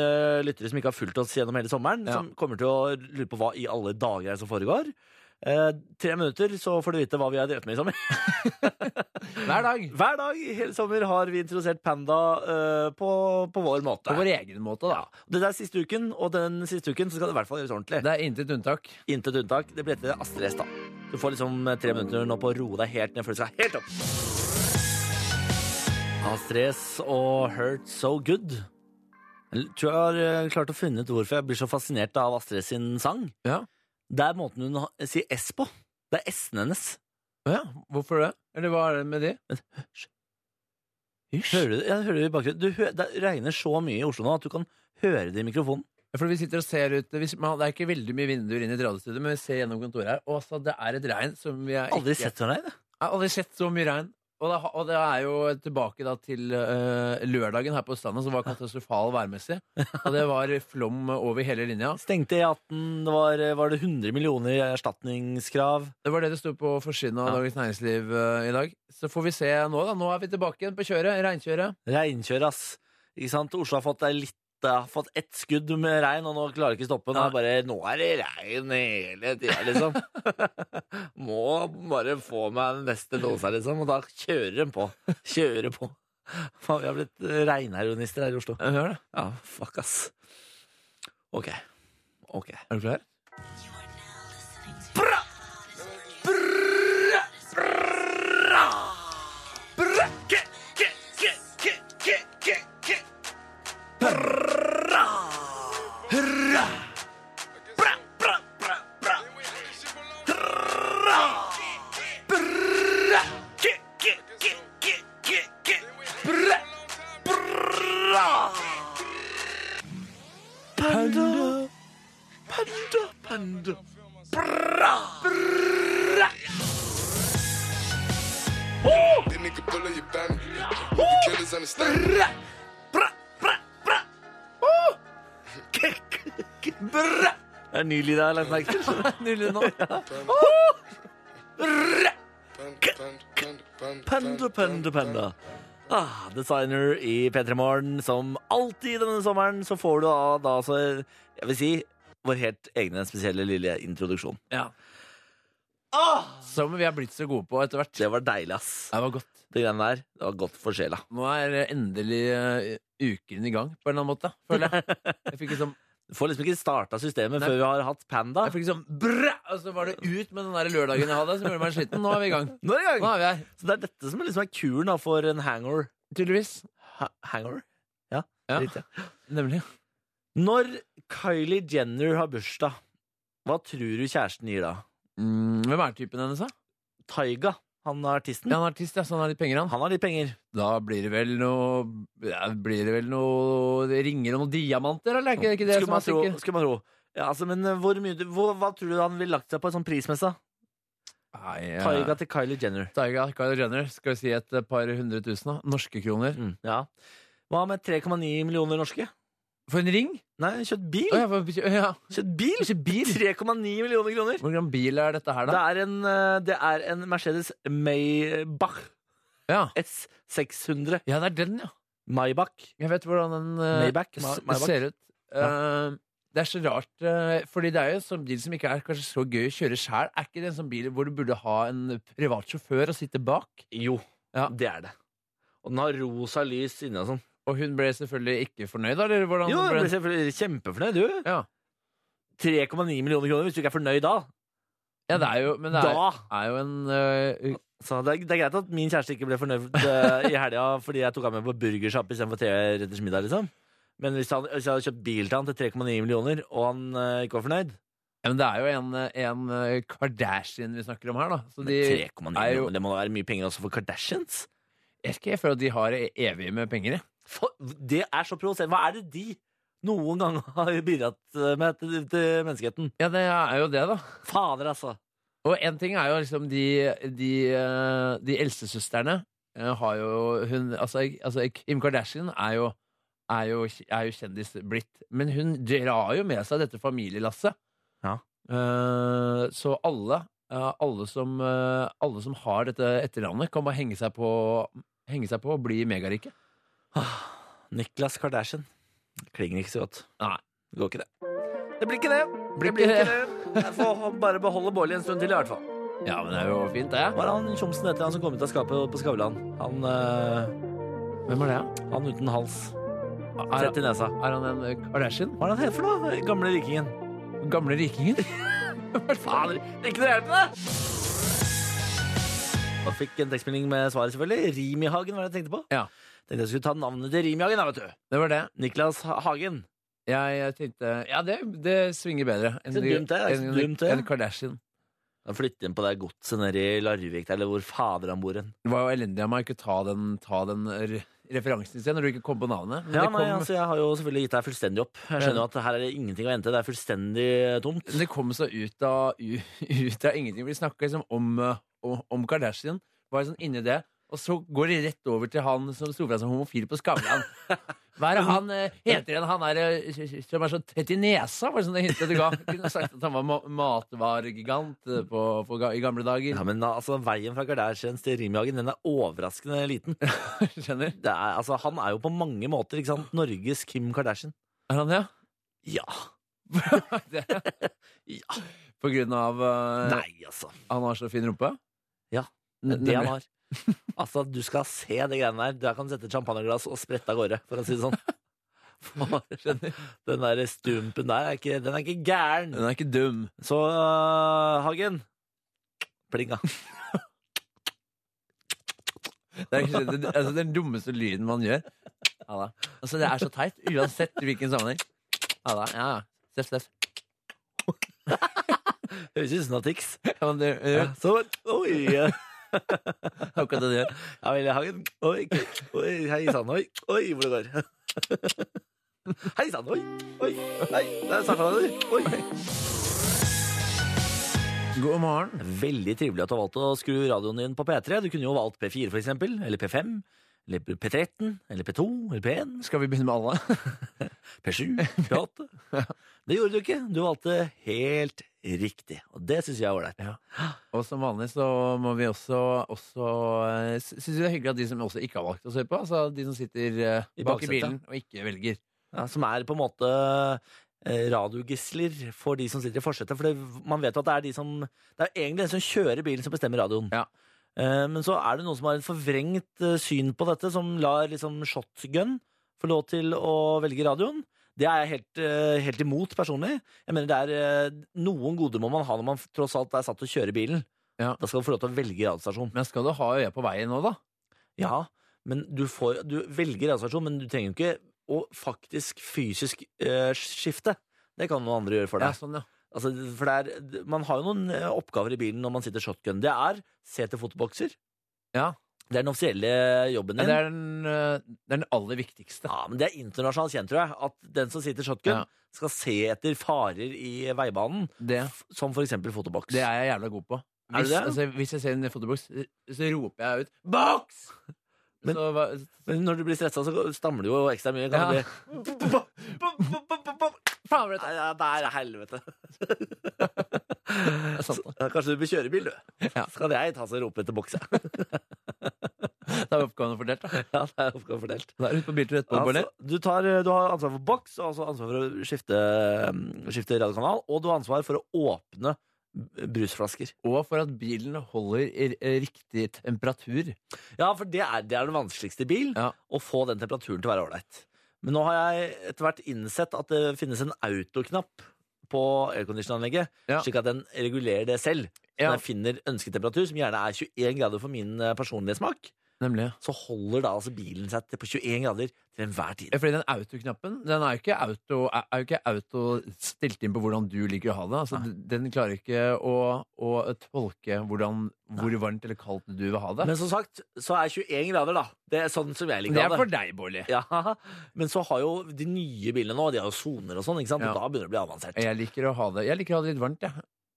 Speaker 3: lyttere som ikke har fulgt oss gjennom hele sommeren,
Speaker 4: Ja.
Speaker 3: som kommer til å lure på hva i alle dager er det som foregår. Eh, tre minutter, så får du vite hva vi har drevet med i sommer.
Speaker 4: Hver dag.
Speaker 3: Hver dag i hele sommer har vi introdusert Panda eh, på, på vår måte.
Speaker 4: På vår egen måte, da.
Speaker 3: Dette er siste uken, og den siste uken så skal det i hvert fall gjøres ordentlig.
Speaker 4: Det er intet unntak.
Speaker 3: Intet unntak. Det blir etter Astrid S, da. Du får liksom tre minutter nå på å roe deg helt ned før du skal helt opp. Astrid S og Hurt So Good. Jeg tror jeg har eh, klart å finne ut hvorfor jeg blir så fascinert av Astrid sin sang.
Speaker 4: Ja.
Speaker 3: Det er måten hun ha- sier S på. Det er S-en hennes.
Speaker 4: Ja, hvorfor det? Eller hva er det med de?
Speaker 3: Hører du, ja, hører du i bakgrunnen? Du, hø- det regner så mye i Oslo nå at du kan høre det i mikrofonen.
Speaker 4: Ja, For vi sitter og ser ut hvis, man, Det er ikke veldig mye vinduer inn i et radiostudio, men vi ser gjennom kontoret her. Og altså, det er et regn som vi er
Speaker 3: Aldri
Speaker 4: ikke-
Speaker 3: sett sånn regn. jeg.
Speaker 4: Jeg har aldri sett så mye regn. Og det, ha- og det er jo tilbake da til eh, lørdagen her på Østlandet, som var katastrofal værmessig. Og det var flom over hele linja.
Speaker 3: Stengte E18, det var, eh, var det 100 millioner i erstatningskrav?
Speaker 4: Det var det det sto på forsiden av
Speaker 3: Ja.
Speaker 4: Dagens Næringsliv eh, i dag. Så får vi se nå, da. Nå er vi tilbake igjen på kjøret. Regnkjøret.
Speaker 3: Regnkjør, ass. Ikke sant? Oslo har fått, ei litt, har fått ett skudd med regn, og nå klarer ikke stoppe. Nå er, det bare, nå er det regn hele tida, liksom. Må bare få meg den neste dose, liksom. Og da kjører de på. Kjører på. Faen, vi har blitt regnheroinister her i Oslo.
Speaker 4: Jeg hører det.
Speaker 3: Ja, fuck, ass. OK. OK.
Speaker 4: Er du klar?
Speaker 6: That nigga pull up your banner. You killers understand.
Speaker 3: Oh! Det er en ny lyd jeg har lagt merke til.
Speaker 4: Nydelig nå.
Speaker 6: Panda, panda, panda, panda,
Speaker 3: Panda, panda, panda. Ah, designer i P3 Morgen. Som alltid denne sommeren så får du da, da altså, jeg vil si, vår helt egne spesielle lille introduksjon.
Speaker 4: Ja. Som vi er blitt så gode på etter hvert.
Speaker 3: Det var deilig, ass.
Speaker 4: Det var godt.
Speaker 3: Det greiene der, det var godt for sjela.
Speaker 4: Nå er endelig eh, uken i gang, på en eller annen måte, føler jeg. Jeg fikk liksom
Speaker 3: Du får liksom ikke starta systemet
Speaker 4: Nei.
Speaker 3: før vi har hatt Panda.
Speaker 4: Jeg fikk sånn brr, og så var det ut med den der lørdagen jeg hadde, som gjorde meg sliten. Nå er vi i gang.
Speaker 3: Nå er det i
Speaker 4: Nå
Speaker 3: gang!
Speaker 4: er vi her.
Speaker 3: Så det er dette som liksom er kuren da, for en hangover.
Speaker 4: Tydeligvis.
Speaker 3: Ha hangover? Ja,
Speaker 4: Ja.
Speaker 3: riktig.
Speaker 4: Nemlig.
Speaker 3: Når Kylie Jenner har bursdag, hva tror du kjæresten gir da?
Speaker 4: Mm, hvem er typen hennes, da?
Speaker 3: Taiga, han er artisten.
Speaker 4: Ja, han er artist, ja, så han har litt penger, han.
Speaker 3: Han har litt penger.
Speaker 4: Da blir det vel noe ja, Blir det vel noe det ringer og noen diamanter, eller? Er ikke, ikke det
Speaker 3: Skulle
Speaker 4: som
Speaker 3: man
Speaker 4: er
Speaker 3: tro.
Speaker 4: sikkert?
Speaker 3: Skulle man tro. Ja, altså, men eh, hvor mye, hvor, hva tror du han ville lagt seg på en sånn prismesse?
Speaker 4: Nei,
Speaker 3: Ja.
Speaker 4: eh,
Speaker 3: til Kylie Jenner.
Speaker 4: Taiga, Kylie Jenner. Skal vi si et eh, par hundre tusen, da? Norske kroner.
Speaker 3: Mm, ja. Hva med 3,9 millioner norske?
Speaker 4: For en ring?
Speaker 3: Nei, kjøpt bil!
Speaker 4: Å, ja, for, ja.
Speaker 3: Kjøpt bil!
Speaker 4: Ikke bil.
Speaker 3: 3,9 millioner kroner!
Speaker 4: Hvordan bil er dette her,
Speaker 3: Det
Speaker 4: da?
Speaker 3: er en, eh, det er en Mercedes Maybach
Speaker 4: Ja.
Speaker 3: S600.
Speaker 4: ja, det er den, ja.
Speaker 3: Maybach.
Speaker 4: Jeg vet hvordan den eh,
Speaker 3: Maybach. Ma-
Speaker 4: s-
Speaker 3: Maybach.
Speaker 4: ser ut. Eh, det er så rart, eh, fordi det er jo en sånn bil som ikke er kanskje så gøy å kjøre sjæl. Er ikke det en sånn bil hvor du burde ha en privat sjåfør og sitte bak?
Speaker 3: Jo,
Speaker 4: Ja.
Speaker 3: det er det. Og den har rosa lys inni og sånn.
Speaker 4: Og hun ble selvfølgelig ikke fornøyd, da, eller hvordan?
Speaker 3: Jo, du
Speaker 4: ble
Speaker 3: blir selvfølgelig kjempefornøyd, du.
Speaker 4: Ja.
Speaker 3: 3,9 millioner kroner hvis du ikke er fornøyd da.
Speaker 4: ja, det er jo Men det er,
Speaker 3: Da!
Speaker 4: er jo en eh,
Speaker 3: Så det er, det er greit at min kjæreste ikke ble fornøyd eh, i helga fordi jeg tok ham med på burgersjapp istedenfor treretters middag, liksom. Men hvis, han, hvis jeg hadde kjøpt bil til han til 3,9 millioner, og han eh, ikke var fornøyd
Speaker 4: ja, men det er jo en, eh, en eh, Kardashian vi snakker om her, da. Så
Speaker 3: Men 3,9
Speaker 4: de er jo-
Speaker 3: millioner, Det må da være mye penger også for Kardashians?
Speaker 4: Jeg, skal, jeg føler at de har e- evig med penger, jeg.
Speaker 3: For, det er så provoserende. Hva er det de noen gang har bidratt eh, med til, til menneskeheten?
Speaker 4: Ja, det er jo det, da.
Speaker 3: Fader, altså.
Speaker 4: Og en ting er jo liksom de, de, eh, de eldste søsterne eh, har jo hun, altså, altså Kim Kardashian er jo, er jo, er jo kjendis blitt. Men hun drar jo med seg dette familielasset.
Speaker 3: Ja.
Speaker 4: Eh, så alle, eh, alle, som, eh, alle som har dette etternavnet, kan bare henge seg på, henge seg på og bli megarike.
Speaker 3: Niklas Kardashian. Klinger ikke så godt.
Speaker 4: Nei.
Speaker 3: Det går ikke, det. Det blir ikke det.
Speaker 4: Blir
Speaker 3: det, blir
Speaker 4: ikke
Speaker 3: ikke det. Jeg får bare beholde Bård en stund til, i hvert fall.
Speaker 4: Ja, men det er jo fint, det.
Speaker 3: Hva er han tjomsen etter han som kom ut av skapet på Skavlan? Han, eh,
Speaker 4: Hvem er det?
Speaker 3: han uten hals.
Speaker 4: Er,
Speaker 3: Tett i nesa.
Speaker 4: er han en eh, Kardashian?
Speaker 3: Hva er det han heter for noe? Gamle rikingen.
Speaker 4: Gamle rikingen?
Speaker 3: Fader, det er ikke noe hjelp med det! Og fikk en tekstmelding med svaret, selvfølgelig. Rimihagen var det jeg tenkte på.
Speaker 4: Ja.
Speaker 3: Tenkte jeg skulle ta navnet til Rimihagen, da, vet du.
Speaker 4: Det var det.
Speaker 3: Niklas Ha- Hagen.
Speaker 4: Jeg, jeg tenkte Ja, det, det svinger bedre enn
Speaker 3: Så dumt det er, så
Speaker 4: enn-
Speaker 3: dumt det er.
Speaker 4: enn Kardashian.
Speaker 3: Han flytter inn på det godset nede i Larvik, der, eller hvor fader han bor hen.
Speaker 4: Det var jo elendig av meg å ikke ta den, ta den re- referansen i sted når du ikke kom på navnet. Men
Speaker 3: Ja,
Speaker 4: det, kom,
Speaker 3: nei, altså, jeg har jo selvfølgelig gitt deg fullstendig opp. Jeg skjønner jo at her er det ingenting å hente. Det er fullstendig tomt.
Speaker 4: men det kom så ut av, u- ut av ingenting. Vi snakka liksom om, eh, om, om Kardashian, var sånn inni det. Og så går de rett over til han som sto fra som homofil på Skavlan. Hva er det han eh, heter igjen? Han er, eh, som er så tett i nesa, var det sånn det hintet du ga. Kunne sagt at han var ma- matvaregigant eh, på, på, ga- i gamle dager.
Speaker 3: Ja, men altså, Veien fra Kardashians til Rimjagen den er overraskende liten.
Speaker 4: Skjønner?
Speaker 3: Det er, altså, han er jo på mange måter ikke sant? Norges Kim Kardashian.
Speaker 4: Er han det?
Speaker 3: Ja.
Speaker 4: ja? Det- På grunn av eh,
Speaker 3: Nei, altså.
Speaker 4: han har så fin rumpe?
Speaker 3: Ja, Det er det han har. Altså, Du skal se det greiene der. Der kan du sette et champagneglass og sprette av gårde, for å si det sånn. For den der stumpen der er ikke, den er ikke gæren.
Speaker 4: Hun er ikke dum.
Speaker 3: Så,
Speaker 4: eh,
Speaker 3: øh, Hagen Plinga.
Speaker 4: Det er kanskje det, altså, den dummeste lyden man gjør. Ja, da. Altså, det er så teit, uansett i hvilken sammenheng. Ja, da. Ja, ja. Steff, steff.
Speaker 3: Høres ut som Natix.
Speaker 4: Ja, men det, eh, ja,
Speaker 3: Ja, så Oi! Ja,
Speaker 4: akkurat det det gjør.
Speaker 3: Willy Hagen. Oi, oi hei sann, oi. Oi, hvor det går. Hei sann, oi. Oi. Nei, der starta det. Oi.
Speaker 4: God morgen.
Speaker 3: Veldig trivelig at du har valgt å skru radioen din på P3. Du kunne jo valgt P4, for eksempel. Eller P5. Eller P13. Eller P2. Eller P1.
Speaker 4: Skal vi begynne med alle?
Speaker 3: P7. P8. Det gjorde du ikke. Du valgte helt riktig. Og det syns jeg er ålreit.
Speaker 4: Og som vanlig så må vi også, også eh, sy- Syns vi det er hyggelig at de som også ikke har valgt å se på, altså de som sitter eh,
Speaker 3: I
Speaker 4: bak
Speaker 3: baksetet.
Speaker 4: i bilen og ikke velger
Speaker 3: Ja, som er på en måte eh, radiogisler for de som sitter i forsetet. For det, man vet jo at det er de som Det er egentlig den som kjører bilen, som bestemmer radioen.
Speaker 4: Ja.
Speaker 3: Eh, Men så er det noen som har en forvrengt eh, syn på dette, som lar liksom shotgun få lov til å velge radioen. Det er jeg helt, eh, helt imot personlig. Jeg mener det er eh, Noen goder må man ha når man tross alt er satt til å kjøre bilen.
Speaker 4: Ja.
Speaker 3: Da skal du få lov til å velge radiostasjon.
Speaker 4: Men skal du ha øya på veien nå, da?
Speaker 3: Ja, men du, får, du velger radiostasjon, men du trenger jo ikke å faktisk fysisk eh, skifte. Det kan noen andre gjøre for
Speaker 4: Ja,
Speaker 3: deg.
Speaker 4: sånn, ja.
Speaker 3: Altså, for det er, man har jo noen eh, oppgaver i bilen når man sitter shotgun. Det er se til fotobokser.
Speaker 4: Ja.
Speaker 3: Det er den offisielle jobben
Speaker 4: Ja,
Speaker 3: din.
Speaker 4: det, er den, eh, det er den aller viktigste.
Speaker 3: Ja, men det er internasjonalt kjent, tror jeg, at den som sitter shotgun,
Speaker 4: Ja.
Speaker 3: skal se etter farer i veibanen,
Speaker 4: Det,
Speaker 3: f- som for eksempel fotoboks.
Speaker 4: det er jeg jævla god på.
Speaker 3: Er du
Speaker 4: Hvis,
Speaker 3: det?
Speaker 4: altså, hvis jeg ser en fotoboks, så roper jeg ut 'boks!'
Speaker 3: Men-
Speaker 4: så, hva,
Speaker 3: Men når du blir stressa, så stammer du jo ekstra mye.
Speaker 4: Ja.
Speaker 3: Kan det bli-
Speaker 4: faen, var det
Speaker 3: Nei, ja, det er helvete.
Speaker 4: det er sant, da.
Speaker 3: Ja, Kanskje du bør kjøre bil, du.
Speaker 4: Ja.
Speaker 3: Skal jeg ta og rope etter boks, jeg.
Speaker 4: Da er oppgaven fordelt. Da.
Speaker 3: Ja, det er oppgave fordelt.
Speaker 4: da er du ute på biltur etterpå,
Speaker 3: Altså,
Speaker 4: Bårdli.
Speaker 3: du, tar, du har ansvar for boks, og altså ansvar for å skifte, um, skifte radiokanal, og du har ansvar for å åpne b- brusflasker.
Speaker 4: altså, Og for at bilen holder i- i riktig temperatur.
Speaker 3: Ja, for det er, det er den vanskeligste i bil,
Speaker 4: Ja.
Speaker 3: å få den temperaturen til å være ålreit. Men nå har jeg etter hvert innsett at det finnes en autoknapp på airconditionanlegget,
Speaker 4: Ja.
Speaker 3: slik at den regulerer det selv. Så
Speaker 4: Ja.
Speaker 3: den finner ønsketemperatur, som gjerne er 21 grader for min eh, personlige smak.
Speaker 4: Nemlig.
Speaker 3: Så holder da altså bilen seg til- på 21 grader til enhver tid.
Speaker 4: Ja, Fordi den autoknappen den er jo ikke auto, er er jo ikke auto stilt inn på hvordan du liker å ha det. Altså, d- den klarer ikke å, å tolke hvordan, hvor varmt eller kaldt du vil ha det.
Speaker 3: Men som sagt, så er 21 grader, da. Det er sånn som jeg
Speaker 4: Det er
Speaker 3: liker
Speaker 4: for
Speaker 3: det.
Speaker 4: deg, Bårdli.
Speaker 3: Ja, men så har jo de nye bilene nå, de har jo soner og sånn, ikke sant?
Speaker 4: Ja.
Speaker 3: Og da begynner det å bli avansert.
Speaker 4: Jeg liker å ha det Jeg liker å ha det litt varmt, jeg.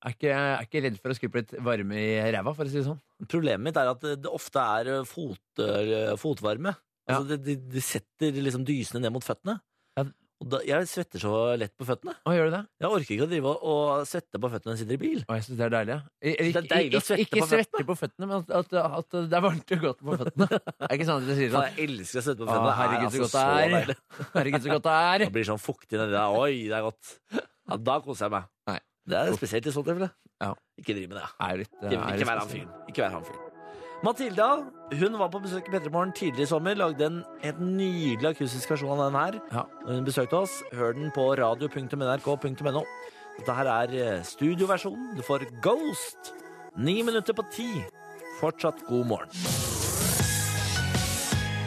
Speaker 4: Er ikke, er ikke redd for å skru på litt varme i ræva, for å si det sånn.
Speaker 3: Problemet mitt er at det ofte er eh, fot, eller fotvarme.
Speaker 4: Ja.
Speaker 3: Altså, de, de setter liksom dysene ned mot føttene.
Speaker 4: Ja.
Speaker 3: Og da, jeg svetter så lett på føttene.
Speaker 4: Å, gjør du det?
Speaker 3: Jeg orker ikke å drive og, og svette på føttene når jeg sitter i bil.
Speaker 4: Å, jeg syns det er deilig. Jeg,
Speaker 3: Det er
Speaker 4: ikke-
Speaker 3: deilig å svette
Speaker 4: ikke,
Speaker 3: på
Speaker 4: ikke svette på føttene, men at, at, at det er varmt og godt på føttene. Det er ikke sant at jeg sier
Speaker 3: Faen,
Speaker 4: sånn.
Speaker 3: Jeg elsker å svette på
Speaker 4: Å,
Speaker 3: føttene. Det er
Speaker 4: herregud, så
Speaker 3: altså
Speaker 4: godt
Speaker 3: så
Speaker 4: det
Speaker 3: deilig.
Speaker 4: er. Herregud, så godt det
Speaker 3: Det
Speaker 4: er.
Speaker 3: blir sånn fuktig nedi der. Oi, det er godt. Ja, da koser jeg meg.
Speaker 4: Nei.
Speaker 3: Det er spesielt i så tilfelle.
Speaker 4: Ja.
Speaker 3: Ikke driv med det.
Speaker 4: Er litt,
Speaker 3: Ikke,
Speaker 4: er
Speaker 3: ikke
Speaker 4: litt
Speaker 3: vær han fyren. Ikke vær han fyren. Matilda hun var på besøk i Petremorgen tidligere i sommer. Lagde en helt nydelig akustisk versjon av den her.
Speaker 4: Ja.
Speaker 3: Når hun besøkte oss, hør den på radio.nrk.no. Dette her er eh, studioversjonen. Du får Ghost. Ni minutter på ti. Fortsatt god morgen.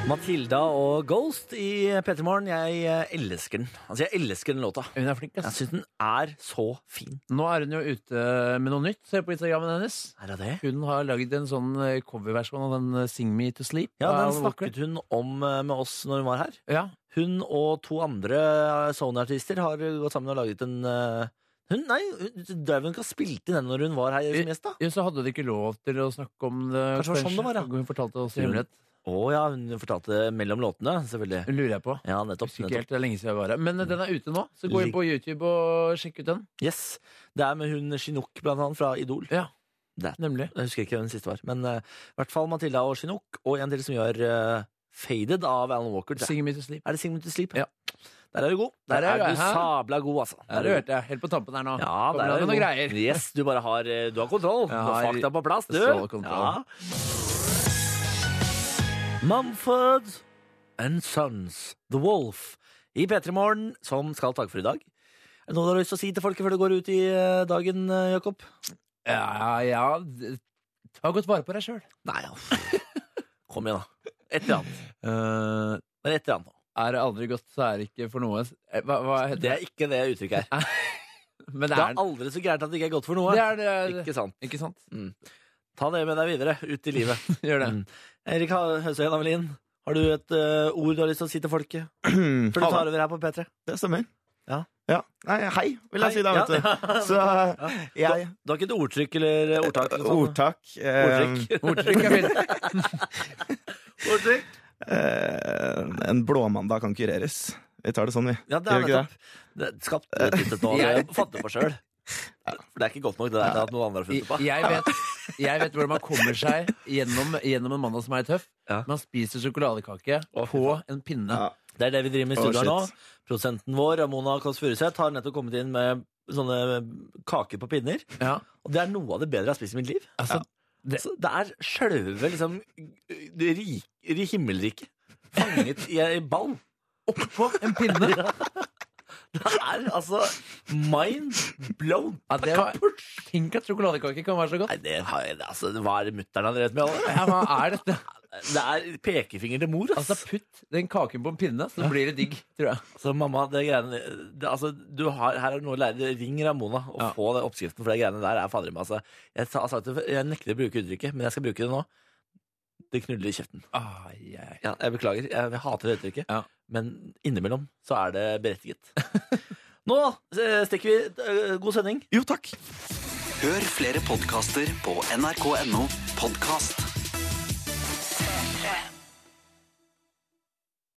Speaker 3: Matilda og Ghost i Petremorgen. Jeg eh, elsker den. Altså, jeg elsker den låta.
Speaker 4: Hun er flink,
Speaker 3: Jeg
Speaker 4: ass.
Speaker 3: syns den er så fin.
Speaker 4: Nå er hun jo ute med noe nytt. Se på Instagrammen hennes.
Speaker 3: Er det det?
Speaker 4: Hun har lagd en sånn eh, coverversjon av den eh, Sing Me To Sleep.
Speaker 3: Ja,
Speaker 4: av
Speaker 3: den
Speaker 4: Alan Walker.
Speaker 3: snakket hun om eh, med oss når hun var her.
Speaker 4: Ja,
Speaker 3: Hun og to andre Sony-artister har gått sammen og laget en eh, Hun, nei, hun drev hun ikke og spilte inn den når hun var her som gjest, da?
Speaker 4: Ja, så hadde de ikke lov til å snakke om det.
Speaker 3: Kanskje det var sånn det var, ja.
Speaker 4: Hun fortalte oss i hemmelighet.
Speaker 3: Å ja, hun fortalte det mellom låtene, selvfølgelig.
Speaker 4: Lurer jeg på.
Speaker 3: Ja, nettopp.
Speaker 4: Husker ikke
Speaker 3: nettopp.
Speaker 4: helt, det er lenge siden jeg var her. Men eh, den er ute nå, så gå inn på YouTube og sjekk ut den.
Speaker 3: Yes. Det er med hun Chinook, blant annet, fra Idol.
Speaker 4: Ja.
Speaker 3: Det.
Speaker 4: Nemlig.
Speaker 3: Jeg husker ikke hvem den siste var, men eh, i hvert fall Matilda og Chinook, og en til som gjør eh, Faded av Alan Walker. tror jeg.
Speaker 4: Sing Me To Sleep.
Speaker 3: Er det Sing Me To Sleep?
Speaker 4: Ja.
Speaker 3: Der er du god.
Speaker 4: Der er jeg,
Speaker 3: du
Speaker 4: hæ?
Speaker 3: sabla god, altså.
Speaker 4: Ja, det hørte jeg. Helt på tampen her nå.
Speaker 3: Ja, der
Speaker 4: Kommer
Speaker 3: er
Speaker 4: det
Speaker 3: du
Speaker 4: noen
Speaker 3: god.
Speaker 4: greier.
Speaker 3: Yes, du bare har, eh, du har kontroll. Du har
Speaker 4: har
Speaker 3: fakta på plass, du.
Speaker 4: stålkontroll.
Speaker 3: Mumford and Sons, The Wolf, i P3 Morgen, som skal takke for i dag. Er det noe du har lyst til å si til folket før du går ut i eh, dagen, eh, Jakob?
Speaker 4: Ja, ja. d- Ta godt vare på deg sjøl.
Speaker 3: Nei, ja. Kom igjen, da. Et eller annet.
Speaker 4: Eh,
Speaker 3: Det er et eller annet. nå.
Speaker 4: er det aldri godt, så er det ikke for noe. Eh, Hva, hva heter
Speaker 3: Det er ikke det uttrykket her.
Speaker 4: Men
Speaker 3: Det
Speaker 4: det
Speaker 3: er
Speaker 4: er
Speaker 3: aldri så gærent at det ikke er godt for noe.
Speaker 4: det. Er, det, er,
Speaker 3: Ikke sant.
Speaker 4: Ikke sant?
Speaker 3: Ta det med deg videre ut i livet.
Speaker 4: Gjør det.
Speaker 3: Mm. Erik Ha- Høsøyen Amelin, har du et eh, ord du har lyst til å si til folket? Før du
Speaker 7: Ha
Speaker 3: tar
Speaker 7: det.
Speaker 3: over her på P3.
Speaker 7: Det stemmer.
Speaker 3: Ja.
Speaker 7: Nei, hei, vil
Speaker 3: Hei.
Speaker 7: jeg si da, vet
Speaker 3: Ja.
Speaker 7: du. Så jeg
Speaker 3: Du har ikke et ordtrykk eller eh, ordtak? eller noe sånt?
Speaker 7: Ordtak. Eh,
Speaker 3: Ordtrykk.
Speaker 4: Ordtrykk er fint.
Speaker 7: um,
Speaker 3: ordtrykk.
Speaker 7: eh, en blåmandag kan kureres. Vi tar det sånn, vi.
Speaker 3: Ja, det er
Speaker 7: Gjør ikke
Speaker 3: nettopp. Det skapte et lite nå. Jeg fant det på sjøl. For det er ikke godt nok, det der. Det er at noen andre har funnet det på.
Speaker 4: Jeg vet, jeg vet hvordan man kommer seg gjennom, gjennom en mandag som er tøff.
Speaker 3: Ja.
Speaker 4: Man spiser sjokoladekake på en pinne.
Speaker 7: Ja.
Speaker 3: Det er det vi driver med i
Speaker 7: Å,
Speaker 3: studio her nå.
Speaker 7: shit.
Speaker 3: Produsenten vår, Ramona Kåss Furuseth, har nettopp kommet inn med sånne eh, kaker på pinner.
Speaker 4: Ja.
Speaker 3: Og det er noe av det bedre jeg har spist i mitt liv.
Speaker 4: Altså, det-
Speaker 3: Så det er sjølve liksom det rik- det himmelriket fanget i en ball.
Speaker 4: På en pinne! Ja,
Speaker 3: Det er altså mind blown.
Speaker 4: det var, tenk at sjokoladekake kan være så godt.
Speaker 3: Nei, det har jeg, altså, hva er det mutter'n har drevet med? alle?
Speaker 4: Ja, hva er dette?
Speaker 3: Det er pekefinger til mor, ass.
Speaker 4: Altså, putt den kaken på en pinne, så blir det digg, tror jeg.
Speaker 3: Altså, mamma, det greiene det, altså, du har, Her er det noe å lære. Ring Ramona og
Speaker 4: Ja.
Speaker 3: få den oppskriften, for de greiene der er fader i meg. Altså. Jeg, sa- sa det- jeg nekter å bruke uttrykket, men jeg skal bruke det nå. Det knuller i kjeften.
Speaker 4: Ai, ai.
Speaker 3: Ja, jeg beklager. Jeg, jeg hater det uttrykket.
Speaker 4: Ja.
Speaker 3: Men innimellom så er det berettiget. nå eh, stikker vi. Eh, God sending.
Speaker 7: Jo, takk.
Speaker 1: Hør flere podkaster på nrk.no podkast.